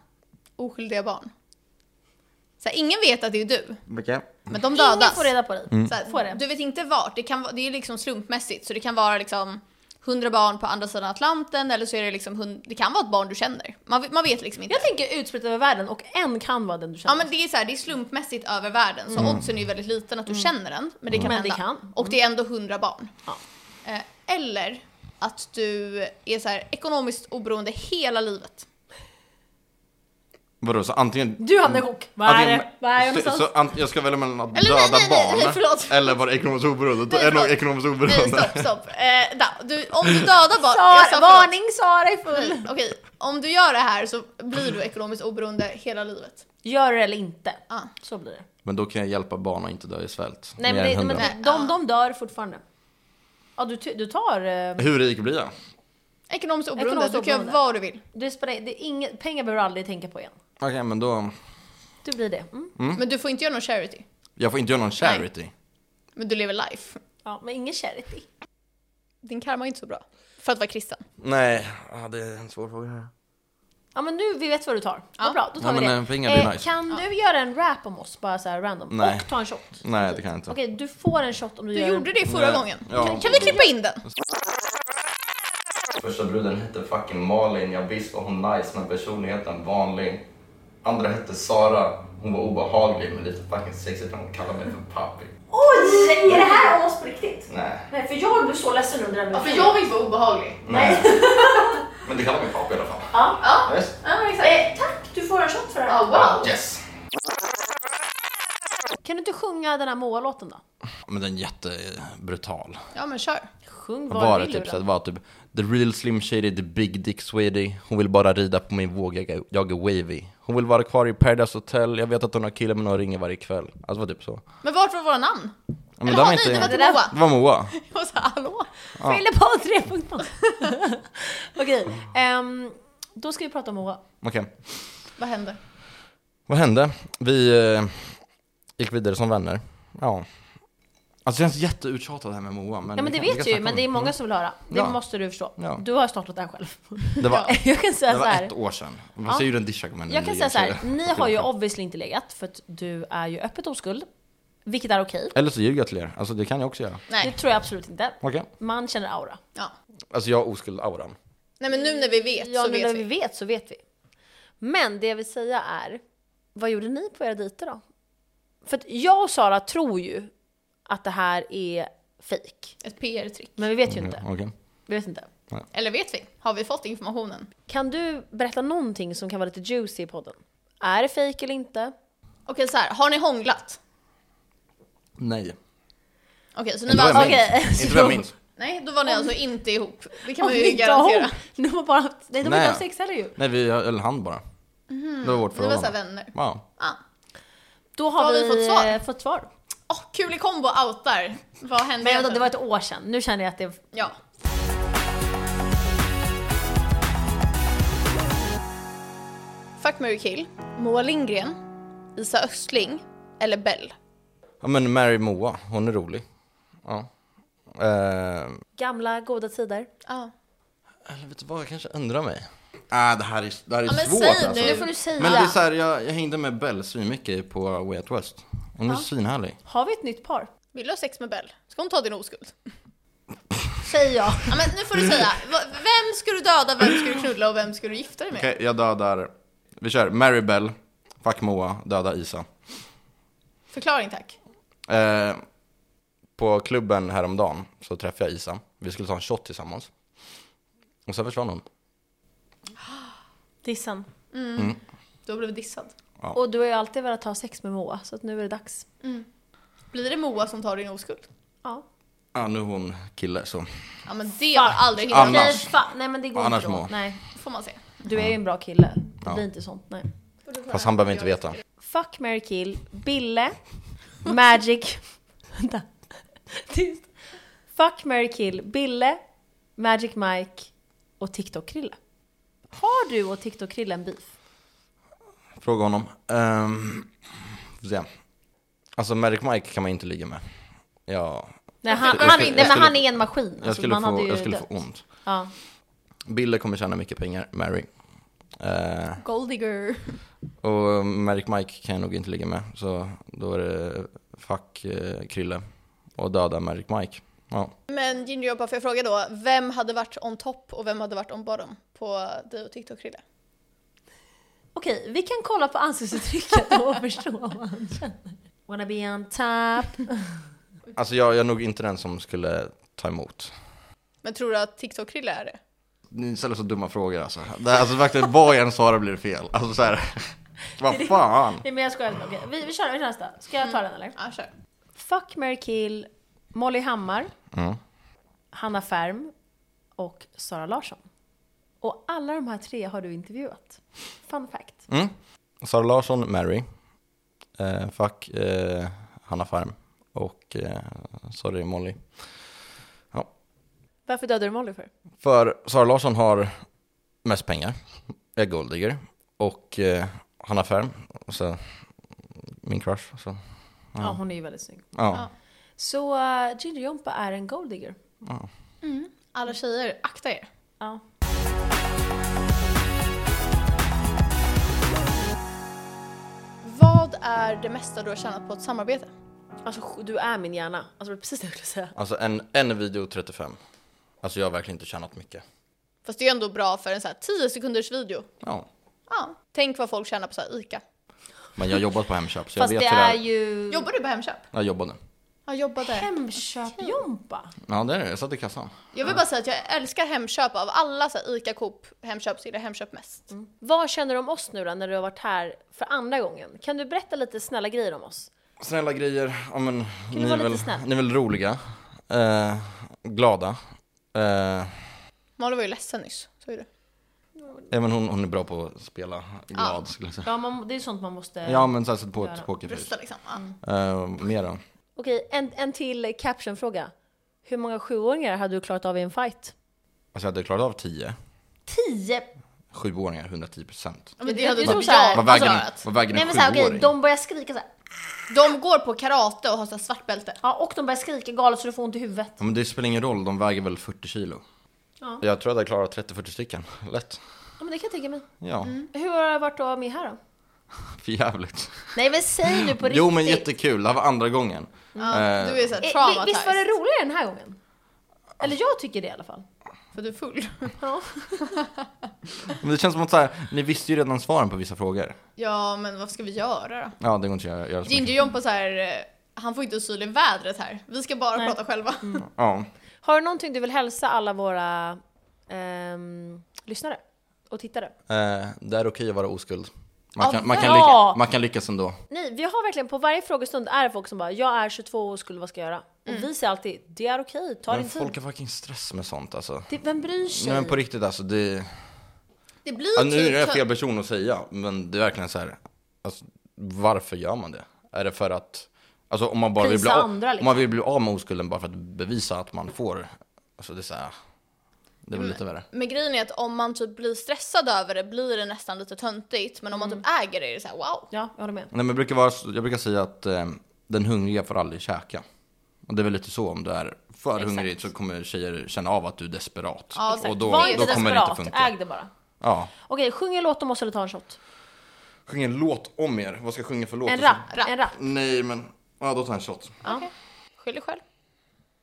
[SPEAKER 1] oskyldiga barn. Så här, ingen vet att det är du,
[SPEAKER 3] Okej.
[SPEAKER 1] men de
[SPEAKER 2] Ingen
[SPEAKER 1] dödas.
[SPEAKER 2] får reda på det.
[SPEAKER 3] Mm.
[SPEAKER 1] Så här,
[SPEAKER 2] Får det.
[SPEAKER 1] Du vet inte vart, det, kan, vara- det är liksom slumpmässigt. Så det kan vara liksom 100 barn på andra sidan Atlanten eller så är det liksom, hund- det kan vara ett barn du känner. Man, vet- man vet liksom inte.
[SPEAKER 2] Jag tänker utspritt över världen och en kan vara den du känner.
[SPEAKER 1] Ja men det är, så här, det är slumpmässigt över världen så oddsen är ju väldigt liten att du känner den. Men det kan
[SPEAKER 2] Mm. Men det
[SPEAKER 1] hända.
[SPEAKER 2] kan.
[SPEAKER 1] Och det är ändå 100 barn.
[SPEAKER 2] Ja.
[SPEAKER 1] Eh, Eller att du är så här, ekonomiskt oberoende hela livet.
[SPEAKER 3] Vadå, så antingen...
[SPEAKER 2] Du hamnar i chock. Vad är
[SPEAKER 3] antingen-
[SPEAKER 2] det? Vad är jag
[SPEAKER 3] så,
[SPEAKER 2] någonstans?
[SPEAKER 3] så ant- jag ska välja mellan att
[SPEAKER 1] Eller nej,
[SPEAKER 3] döda
[SPEAKER 1] nej, nej, nej,
[SPEAKER 3] barn
[SPEAKER 1] förlåt.
[SPEAKER 3] eller vara ekonomiskt oberoende. Då
[SPEAKER 1] Nej,
[SPEAKER 3] är nog
[SPEAKER 1] förlåt.
[SPEAKER 3] ekonomiskt
[SPEAKER 1] Nej
[SPEAKER 3] oberoende.
[SPEAKER 1] stopp, stopp. Eh, da, du, om du dödar barn... jag sa
[SPEAKER 2] Sara,
[SPEAKER 1] förlåt.
[SPEAKER 2] varning Sara är full!
[SPEAKER 1] Okej, om du gör det här så blir du ekonomiskt oberoende hela livet.
[SPEAKER 2] Gör det eller inte.
[SPEAKER 1] Ja.
[SPEAKER 2] Så blir det.
[SPEAKER 3] Men då kan jag hjälpa barn att inte dö i svält.
[SPEAKER 2] Nej,
[SPEAKER 3] Mer
[SPEAKER 2] men, det,
[SPEAKER 3] än
[SPEAKER 2] men
[SPEAKER 3] hundra.
[SPEAKER 2] det, de, de dör fortfarande. Ja, du, ty- du tar... eh,
[SPEAKER 3] Hur rik blir jag?
[SPEAKER 1] Ekonomiskt oberoende,
[SPEAKER 2] Ekonomiskt
[SPEAKER 1] du kan göra
[SPEAKER 2] oberoende.
[SPEAKER 1] vad du vill.
[SPEAKER 2] Det spelar, det är inget, pengar behöver du aldrig tänka på igen.
[SPEAKER 3] Okej, men då...
[SPEAKER 2] Du blir det. Mm.
[SPEAKER 1] Men du får inte göra någon charity.
[SPEAKER 3] Jag får inte göra någon charity.
[SPEAKER 1] Men du lever life.
[SPEAKER 2] Ja, men ingen charity.
[SPEAKER 1] Din karma är inte så bra. För att vara kristen.
[SPEAKER 3] Nej, ah, det är en svår fråga här.
[SPEAKER 2] Ja men nu, vi vet vad du tar. Vad bra, då tar
[SPEAKER 3] Ja,
[SPEAKER 2] vi
[SPEAKER 3] men,
[SPEAKER 2] det.
[SPEAKER 3] eh, pengar blir nice.
[SPEAKER 2] Kan du göra en rap om oss, bara så här random?
[SPEAKER 3] Nej.
[SPEAKER 2] Och ta en shot?
[SPEAKER 3] Nej, det kan jag inte.
[SPEAKER 2] Okej, du får en shot om du,
[SPEAKER 1] Du
[SPEAKER 2] gör
[SPEAKER 1] gjorde
[SPEAKER 2] en...
[SPEAKER 1] det förra
[SPEAKER 3] Nej.
[SPEAKER 1] gången.
[SPEAKER 3] Ja.
[SPEAKER 1] Kan vi klippa in den?
[SPEAKER 3] Första bruden hette fucking Malin, ja visst var hon nice men personligheten vanlig. Andra hette Sara, hon var obehaglig men lite fucking sexig för hon kallade mig för pappi.
[SPEAKER 2] Oj! Är det här om oss på riktigt?
[SPEAKER 3] Nej,
[SPEAKER 2] Nej, för jag blev så ledsen under den
[SPEAKER 1] Alltså, vill inte vara obehaglig.
[SPEAKER 3] nej. men du kallar mig pappi i alla fall.
[SPEAKER 2] Ja.
[SPEAKER 1] Ja.
[SPEAKER 3] Yes.
[SPEAKER 2] Eh, tack, du får en shot för det
[SPEAKER 1] Ja, wow.
[SPEAKER 3] yes.
[SPEAKER 2] Kan du inte sjunga den här Moa-låten då?
[SPEAKER 3] Men den är jättebrutal.
[SPEAKER 1] Ja men kör.
[SPEAKER 2] Sjung
[SPEAKER 3] Vad
[SPEAKER 2] vad
[SPEAKER 3] var
[SPEAKER 2] du
[SPEAKER 3] det
[SPEAKER 2] vill
[SPEAKER 3] typ?
[SPEAKER 2] ur
[SPEAKER 3] Så det
[SPEAKER 2] den.
[SPEAKER 3] var typ the real slim shady, the big dick swady. Hon vill bara rida på min våg, jag är- jag är wavy. Hon vill vara kvar i Paradise Hotel, jag vet att hon har killar men hon ringer varje kväll. Alltså det var typ så.
[SPEAKER 1] Men vart var våra namn?
[SPEAKER 3] Ja, Men
[SPEAKER 1] Eller
[SPEAKER 3] det
[SPEAKER 1] har
[SPEAKER 3] var
[SPEAKER 1] ni inte
[SPEAKER 3] inte...
[SPEAKER 1] varit
[SPEAKER 2] Det där-
[SPEAKER 1] Moa?
[SPEAKER 3] Det var Moa.
[SPEAKER 1] Jag var såhär, hallå?
[SPEAKER 2] Fyller på 3.0. Okej, ehm, då ska vi prata om Moa.
[SPEAKER 3] Okej.
[SPEAKER 1] Vad hände?
[SPEAKER 3] Vad hände? Vi eh, gick vidare som vänner. Ja. Alltså det känns jätteuttjatat det här med Moa. Men
[SPEAKER 2] Ja men det
[SPEAKER 3] vi kan-
[SPEAKER 2] vet
[SPEAKER 3] vi kan
[SPEAKER 2] du ju, men det är
[SPEAKER 3] snacka om Mm.
[SPEAKER 2] många som vill höra. Det
[SPEAKER 3] Ja.
[SPEAKER 2] måste du förstå.
[SPEAKER 3] Ja.
[SPEAKER 2] Du har startat den själv.
[SPEAKER 3] det. Det var,
[SPEAKER 2] Jag kan säga
[SPEAKER 3] det
[SPEAKER 2] så
[SPEAKER 3] var
[SPEAKER 2] här.
[SPEAKER 3] ett år sedan. Man ser ju den discha kommer
[SPEAKER 2] Jag kan säga så här, ni har ju obviously inte legat för att du är ju öppet oskuld. Vilket är okej.
[SPEAKER 3] Eller så ljuger jag till er. Alltså det kan jag också göra.
[SPEAKER 2] Det
[SPEAKER 1] Nej.
[SPEAKER 2] tror jag absolut inte.
[SPEAKER 3] Okej.
[SPEAKER 2] Man känner aura.
[SPEAKER 1] Ja.
[SPEAKER 3] Alltså jag har oskuld-auran.
[SPEAKER 1] Nej men nu när vi vet
[SPEAKER 2] Ja,
[SPEAKER 1] så
[SPEAKER 2] nu när
[SPEAKER 1] vet
[SPEAKER 2] vi
[SPEAKER 1] vi.
[SPEAKER 2] vet så vet vi. Men det jag vill säga är, vad gjorde ni på era dejter då? För att jag och Sara tror ju att det här är fejk.
[SPEAKER 1] Ett PR-trick.
[SPEAKER 2] Men vi vet ju inte.
[SPEAKER 3] Okej.
[SPEAKER 2] Vi vet inte.
[SPEAKER 1] Eller vet vi? Har vi fått informationen?
[SPEAKER 2] Kan du berätta någonting som kan vara lite juicy i podden? Är det fejk eller inte?
[SPEAKER 1] Okej så här, har ni hånglat?
[SPEAKER 3] Nej.
[SPEAKER 1] Okej så ni
[SPEAKER 3] Inte vad
[SPEAKER 1] var
[SPEAKER 3] jag
[SPEAKER 1] alltså,
[SPEAKER 2] Okej,
[SPEAKER 3] minns. Inte vad jag
[SPEAKER 2] så-
[SPEAKER 3] minns.
[SPEAKER 1] nej då var ni alltså inte ihop. Det kan
[SPEAKER 2] Om
[SPEAKER 1] man
[SPEAKER 2] vi
[SPEAKER 1] ju
[SPEAKER 2] inte har
[SPEAKER 1] garantera.
[SPEAKER 2] hon- De har bara haft, nej, de har
[SPEAKER 3] Nej.
[SPEAKER 2] inte haft sex heller ju.
[SPEAKER 3] Nej, vi, eller han bara. Det var vårt
[SPEAKER 1] Ni var såhär
[SPEAKER 3] förhållande.
[SPEAKER 1] vänner.
[SPEAKER 3] Ja.
[SPEAKER 1] Ah.
[SPEAKER 2] Då har, vi, fått svar. Fått svar.
[SPEAKER 1] Åh, kul i kombo outar. Vad hände
[SPEAKER 2] Men vänta,
[SPEAKER 1] egentligen?
[SPEAKER 2] det var ett år sedan. Nu känner jag att det...
[SPEAKER 1] Ja. Fuck, marry, kill. Moa Lindgren, Isa Östling eller Bell?
[SPEAKER 3] ja men Mary Moa, hon är rolig. Ja. Eh,
[SPEAKER 2] Gamla goda tider.
[SPEAKER 1] Ja.
[SPEAKER 3] Eller vet du vad, jag kanske ändrar mig. Ah, det här är, det här är
[SPEAKER 1] Ja, men
[SPEAKER 3] svårt
[SPEAKER 1] säg
[SPEAKER 3] alltså.
[SPEAKER 1] nu.
[SPEAKER 2] Nu får du säga.
[SPEAKER 3] Men det är så här, jag, jag hängde med Bell mycket på Way Out West. Hon är svinhärlig.
[SPEAKER 2] Har vi ett nytt par?
[SPEAKER 1] Vill du ha sex med Bell? Ska hon ta din oskuld?
[SPEAKER 2] Säger jag.
[SPEAKER 1] Ja, men nu får du säga. Va- Vem ska du döda, vem ska du knulla och vem ska du gifta dig med?
[SPEAKER 3] Okej, jag dödar. Vi kör Mary Bell, fuck Moa, döda Isa.
[SPEAKER 1] Förklaring tack.
[SPEAKER 3] Eh, på klubben häromdagen så träffade jag Isa. Vi skulle ta en shot tillsammans. Och sen försvann hon.
[SPEAKER 2] Dissen.
[SPEAKER 1] Då blev vi dissad.
[SPEAKER 2] Och du har ju alltid velat ha sex med Moa, så att nu är det dags.
[SPEAKER 1] Blir det Moa som tar din oskuld?
[SPEAKER 2] Ja.
[SPEAKER 3] Ja, nu är hon kille så.
[SPEAKER 1] Ja men det har aldrig hindrat
[SPEAKER 3] Annars.
[SPEAKER 1] mig.
[SPEAKER 2] Nej, fa- nej men det går
[SPEAKER 3] Annars
[SPEAKER 2] inte då.
[SPEAKER 3] Moa.
[SPEAKER 2] Nej.
[SPEAKER 1] Får man se.
[SPEAKER 2] Du är ju en bra kille. Det
[SPEAKER 3] Ja.
[SPEAKER 2] blir inte sånt, nej.
[SPEAKER 3] Fast han behöver inte veta.
[SPEAKER 2] Fuck, Mary kill, Bille, Magic... Vänta. Tyst. Fuck, Mary kill, Bille, Magic Mike och TikTok-Krille. Har du och TikTok-Krille en beef?
[SPEAKER 3] Fråga honom. Um, får se. Alltså Merrick Mike kan man inte ligga med. Ja,
[SPEAKER 2] Nej, han,
[SPEAKER 1] skulle-
[SPEAKER 2] han,
[SPEAKER 1] jag
[SPEAKER 2] nej men
[SPEAKER 3] skulle-
[SPEAKER 2] han är en maskin. alltså,
[SPEAKER 3] jag skulle,
[SPEAKER 2] man hade
[SPEAKER 3] få,
[SPEAKER 2] ju
[SPEAKER 3] jag skulle få
[SPEAKER 2] dött.
[SPEAKER 3] ont.
[SPEAKER 2] Ja.
[SPEAKER 3] Bille kommer tjäna mycket pengar, Mary. Eh,
[SPEAKER 1] Goldigger.
[SPEAKER 3] och Merrick Mike kan jag nog inte ligga med. Så då är det fuck eh, Krille och döda Merrick Mike. Ja.
[SPEAKER 1] Men Ginger Jobba, får jag fråga då, vem hade varit on top och vem hade varit on bottom på dig och TikTok-Krille?
[SPEAKER 2] Okej, vi kan kolla på ansiktsuttrycket och förstå vad han känner. Wanna be on top.
[SPEAKER 3] Alltså jag, jag är nog inte den som skulle ta emot.
[SPEAKER 1] Men tror du att TikTok-Krille är det?
[SPEAKER 3] Ni ställer så dumma frågor alltså. Det, här- alltså verkligen, vad jag än svarar blir det fel. Alltså så här. vad fan.
[SPEAKER 2] Nej men jag skojar. Okej, vi, vi kör vi kör nästa. Ska jag ta den eller?
[SPEAKER 1] Ja, kör.
[SPEAKER 2] Fuck, Mary kill, Molly Hammar,
[SPEAKER 3] Mm.
[SPEAKER 2] Hanna Färm och Sara Larsson. Och alla de här tre har du intervjuat. Fun fact.
[SPEAKER 3] Mm. Sara Larsson, Mary. Eh, fuck eh, Hanna Farm. Och eh, sorry Molly.
[SPEAKER 2] Varför dödade du Molly för?
[SPEAKER 3] För Sara Larsson har mest pengar, är golddigger. Och eh, Hanna Färm, så, min crush. alltså. Så,
[SPEAKER 2] Ja, hon är ju väldigt snygg.
[SPEAKER 3] ja.
[SPEAKER 2] Så uh, Ginger Jompa är en golddigger.
[SPEAKER 1] Mm. Alla tjejer, akta er.
[SPEAKER 2] Ja.
[SPEAKER 1] Vad är det mesta du har tjänat på ett samarbete?
[SPEAKER 2] Alltså sj- du är min hjärna. Alltså det var precis det jag skulle säga.
[SPEAKER 3] Alltså en, en video 35. Alltså jag har verkligen inte tjänat mycket.
[SPEAKER 1] Fast det är ju ändå bra för en så här 10 sekunders video.
[SPEAKER 3] Ja.
[SPEAKER 1] Ja, tänk vad folk tjänar på så här ICA.
[SPEAKER 3] Men jag har jobbat på Hemköp så jag
[SPEAKER 2] Fast
[SPEAKER 3] vet
[SPEAKER 2] det
[SPEAKER 3] hur det
[SPEAKER 2] är
[SPEAKER 3] är.
[SPEAKER 2] ju...
[SPEAKER 1] Jobbar du på Hemköp?
[SPEAKER 3] Jag jobbade.
[SPEAKER 1] Ja, jobbade.
[SPEAKER 2] Hemköp-Jompa.
[SPEAKER 3] Ja det är det, jag satt i kassan.
[SPEAKER 1] Jag vill bara säga att jag älskar Hemköp. Av alla så här ICA, Coop, Hemköp så gillar jag Hemköp mest.
[SPEAKER 2] Vad känner du om oss nu då när du har varit här för andra gången? Kan du berätta lite snälla grejer om oss?
[SPEAKER 3] Snälla grejer, ja men
[SPEAKER 2] du
[SPEAKER 3] ni
[SPEAKER 2] vara
[SPEAKER 3] är,
[SPEAKER 2] lite
[SPEAKER 3] väl,
[SPEAKER 2] snäll?
[SPEAKER 3] ni är väl roliga, eh, glada. Eh,
[SPEAKER 1] Malin var ju ledsen nyss, så är det.
[SPEAKER 3] ja, men hon, hon är bra på att spela glad skulle jag säga.
[SPEAKER 2] Ja, Eh, man, det är sånt man måste...
[SPEAKER 3] Ja men så här, sätt på
[SPEAKER 2] Göra.
[SPEAKER 3] ett pokerface.
[SPEAKER 1] Rösta liksom. Ja.
[SPEAKER 3] Eh, mer då?
[SPEAKER 2] Okej, en, en till captionfråga. Hur många sjuåringar hade du klarat av i en fight?
[SPEAKER 3] Alltså jag hade klarat av 10.
[SPEAKER 2] Tio!
[SPEAKER 3] Sjuåringar, 110 procent.
[SPEAKER 1] Men det
[SPEAKER 2] Jag
[SPEAKER 1] hade
[SPEAKER 2] tror
[SPEAKER 1] typ
[SPEAKER 2] så här-
[SPEAKER 1] jag
[SPEAKER 3] Vad väger, en-
[SPEAKER 1] klarat.
[SPEAKER 3] vad väger
[SPEAKER 2] Nej
[SPEAKER 3] en
[SPEAKER 2] men såhär okej,
[SPEAKER 3] sjuåring?
[SPEAKER 2] de börjar skrika såhär.
[SPEAKER 1] De går på karate och har så här svart bälte.
[SPEAKER 2] Ja, och de börjar skrika galet så du får ont i huvudet.
[SPEAKER 3] ja, men det spelar ingen roll, de väger väl 40 kilo.
[SPEAKER 2] Ja.
[SPEAKER 3] Jag tror att jag klarat 30-40 stycken, lätt.
[SPEAKER 2] Ja men det kan jag tänka mig.
[SPEAKER 3] Ja,
[SPEAKER 2] Hur har det varit att vara med här då?
[SPEAKER 3] för jävligt.
[SPEAKER 2] Nej men säg nu på riktigt.
[SPEAKER 3] Jo men jättekul, det här var andra gången.
[SPEAKER 1] Ja,
[SPEAKER 3] Eh,
[SPEAKER 1] du är
[SPEAKER 2] Eh, vi-
[SPEAKER 1] såhär
[SPEAKER 2] Visst var det
[SPEAKER 1] traumatized.
[SPEAKER 2] roligare den här gången? Eller jag tycker det i alla fall.
[SPEAKER 1] För du är full.
[SPEAKER 2] Ja.
[SPEAKER 3] Men det känns som att så här, ni visste ju redan svaren på vissa frågor.
[SPEAKER 1] Ja men vad ska vi göra då?
[SPEAKER 3] Ja, det går inte att göra, göra så
[SPEAKER 1] Ginger
[SPEAKER 3] mycket.
[SPEAKER 1] John på så här, eh, han får inte asyl i vädret här. Vi ska bara
[SPEAKER 2] Nej.
[SPEAKER 1] prata själva.
[SPEAKER 3] Ja.
[SPEAKER 2] Har du någonting du vill hälsa alla våra ehm, lyssnare och tittare?
[SPEAKER 3] Eh, det är okej att vara oskuld. Man kan, man, kan
[SPEAKER 2] ja!
[SPEAKER 3] lycka, man kan lyckas ändå.
[SPEAKER 2] Nej, vi har verkligen på varje frågestund är det folk som bara “Jag är 22 och skulle vad ska jag göra?” Och vi säger alltid “Det är okej, ta
[SPEAKER 3] Men
[SPEAKER 2] din tid”.
[SPEAKER 3] folk har fucking stress med sånt alltså.
[SPEAKER 2] Det, vem bryr sig?
[SPEAKER 3] Nej men på riktigt alltså, det...
[SPEAKER 1] Det blir
[SPEAKER 3] Ja, nu är jag
[SPEAKER 1] typ-
[SPEAKER 3] fel person att säga, men det är verkligen så här. Alltså, varför gör man det? Är det för att... Alltså om man bara vill bli,
[SPEAKER 2] Prisa
[SPEAKER 3] av,
[SPEAKER 2] andra, liksom.
[SPEAKER 3] om man vill bli av med oskulden bara för att bevisa att man får... Alltså det är så här, Det
[SPEAKER 2] Mm.
[SPEAKER 3] är väl lite värre.
[SPEAKER 1] Men grejen är att om man typ blir stressad över det blir det nästan lite töntigt. Men om man typ äger det är det såhär wow.
[SPEAKER 2] Ja, jag håller med.
[SPEAKER 3] Nej, men jag, brukar vara, jag brukar säga att eh, den hungriga får aldrig käka. Och det är väl lite så, om du är för hungrig så kommer tjejer känna av att du är desperat.
[SPEAKER 1] Ja, exakt.
[SPEAKER 3] och då,
[SPEAKER 2] Var inte
[SPEAKER 3] då kommer det inte
[SPEAKER 2] desperat,
[SPEAKER 3] funka.
[SPEAKER 2] äg det bara.
[SPEAKER 3] Ja.
[SPEAKER 2] Okej, sjung en låt om oss eller ta en shot.
[SPEAKER 3] Sjung en låt om er, vad ska jag sjunga för låt?
[SPEAKER 2] En
[SPEAKER 3] Och så-
[SPEAKER 2] rap,
[SPEAKER 1] Rap.
[SPEAKER 2] en rap.
[SPEAKER 3] Nej men, ja då tar jag en shot.
[SPEAKER 2] Ja.
[SPEAKER 1] Okej, skyll dig själv.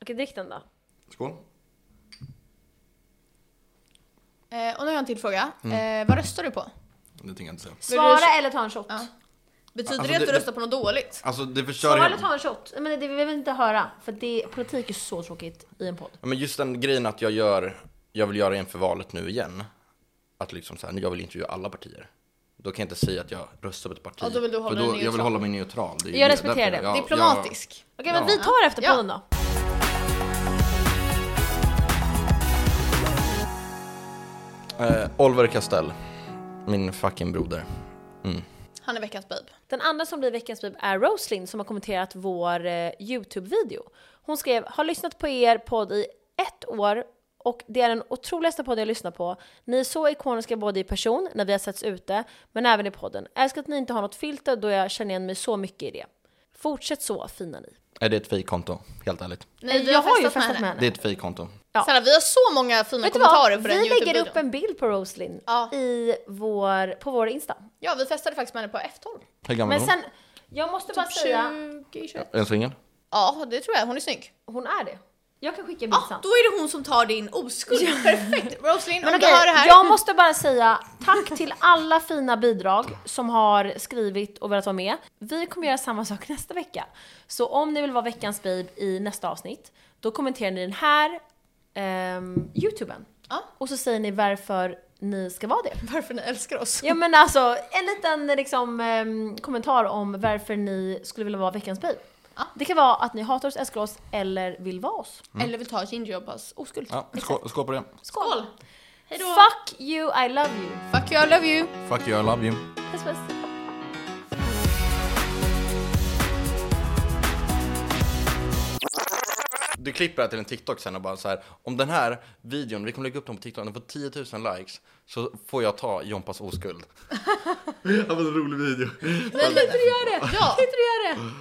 [SPEAKER 2] Okej, drick den då.
[SPEAKER 3] Skål.
[SPEAKER 1] Eh, och nu har jag en till fråga.
[SPEAKER 3] Mm.
[SPEAKER 1] Eh, vad röstar du på?
[SPEAKER 3] Det tänker jag inte säga.
[SPEAKER 2] Svara eller ta en shot.
[SPEAKER 1] Ja. Betyder
[SPEAKER 3] Alltså,
[SPEAKER 1] det att
[SPEAKER 3] det-
[SPEAKER 1] du röstar på något dåligt?
[SPEAKER 3] Alltså det förstör
[SPEAKER 2] Svara eller
[SPEAKER 3] hela...
[SPEAKER 2] ta en shot. Nej, Men det, det vill vi inte höra, för det, politik är så tråkigt i en podd.
[SPEAKER 3] Ja, men just den grejen att jag gör, jag vill göra inför valet nu igen. att liksom så här, jag vill intervjua alla partier. Då kan jag inte säga att jag röstar på ett parti.
[SPEAKER 1] Ja, då vill du hålla dig
[SPEAKER 3] för då, jag vill
[SPEAKER 1] neutral.
[SPEAKER 3] hålla mig neutral. Det är ju
[SPEAKER 2] Jag respekterar
[SPEAKER 3] därför
[SPEAKER 2] det.
[SPEAKER 3] jag-
[SPEAKER 1] Diplomatisk.
[SPEAKER 2] Okej men
[SPEAKER 3] Ja.
[SPEAKER 2] vi tar efter
[SPEAKER 1] Ja.
[SPEAKER 2] podden då.
[SPEAKER 3] Jag, eh, Oliver Castell, min fucking broder.
[SPEAKER 1] Han är veckans babe.
[SPEAKER 2] Den andra som blir veckans bib är Rosalind som har kommenterat vår eh, YouTube-video. Hon skrev “Har lyssnat på er podd i ett år och det är den otroligaste podden jag lyssnar på. Ni är så ikoniska både i person, när vi har setts ute, men även i podden. Älskar att ni inte har något filter då jag känner igen mig så mycket i det. Fortsätt så, fina ni.”
[SPEAKER 3] Är det ett fejkkonto? Helt ärligt.
[SPEAKER 1] Nej, vi
[SPEAKER 2] jag har ju
[SPEAKER 1] festat
[SPEAKER 2] festat med henne.
[SPEAKER 3] Det är ett fejkkonto.
[SPEAKER 2] Ja.
[SPEAKER 1] Snälla, vi har så många fina
[SPEAKER 2] Vet du
[SPEAKER 1] kommentarer
[SPEAKER 2] vad?
[SPEAKER 1] på den
[SPEAKER 2] Vi lägger
[SPEAKER 1] YouTube-videon.
[SPEAKER 2] upp en bild på Rosalind
[SPEAKER 1] Ja.
[SPEAKER 2] i vår, på vår Insta.
[SPEAKER 1] Ja, vi festade faktiskt med henne på F12.
[SPEAKER 3] Hur gammal
[SPEAKER 2] Men
[SPEAKER 3] är hon?
[SPEAKER 2] sen, jag måste bara
[SPEAKER 1] Typ
[SPEAKER 2] säga,
[SPEAKER 1] 20, 21.
[SPEAKER 3] Är hon singel?
[SPEAKER 1] Ja, det tror jag. Hon är snygg.
[SPEAKER 2] hon är det. Ah, Jag kan skicka en bild
[SPEAKER 1] Ja,
[SPEAKER 2] sen.
[SPEAKER 1] då är det hon som tar din oskuld. Perfekt! Rosalind,
[SPEAKER 2] Men
[SPEAKER 1] om
[SPEAKER 2] okej,
[SPEAKER 1] du hör det här.
[SPEAKER 2] jag måste bara säga tack till alla fina bidrag som har skrivit och velat vara med. Vi kommer göra samma sak nästa vecka. Så om ni vill vara veckans babe i nästa avsnitt, då kommenterar ni den här ehm, youtuben.
[SPEAKER 1] Ja.
[SPEAKER 2] Och så säger ni varför ni ska vara det.
[SPEAKER 1] Varför ni älskar oss.
[SPEAKER 2] Ja men alltså, en liten liksom, ehm, kommentar om varför ni skulle vilja vara veckans babe.
[SPEAKER 1] Ja.
[SPEAKER 2] Det kan vara att ni hatar oss, älskar oss eller vill vara oss.
[SPEAKER 1] Eller vill ta Gingerjobbas oskuld.
[SPEAKER 3] Ja, skål, skål på det.
[SPEAKER 1] Skål! Hejdå!
[SPEAKER 2] Fuck you, I love you.
[SPEAKER 1] Fuck you, I love you!
[SPEAKER 3] Fuck you, I love you.
[SPEAKER 2] Puss puss.
[SPEAKER 3] Du klipper det här till en TikTok sen och bara så här. Om den här videon, vi kommer lägga upp den på TikTok, den får 10 000 likes. Så får jag ta Jompas oskuld. det var en rolig video.
[SPEAKER 1] Nej, kan inte du göra det? Ja! Kan inte du göra det?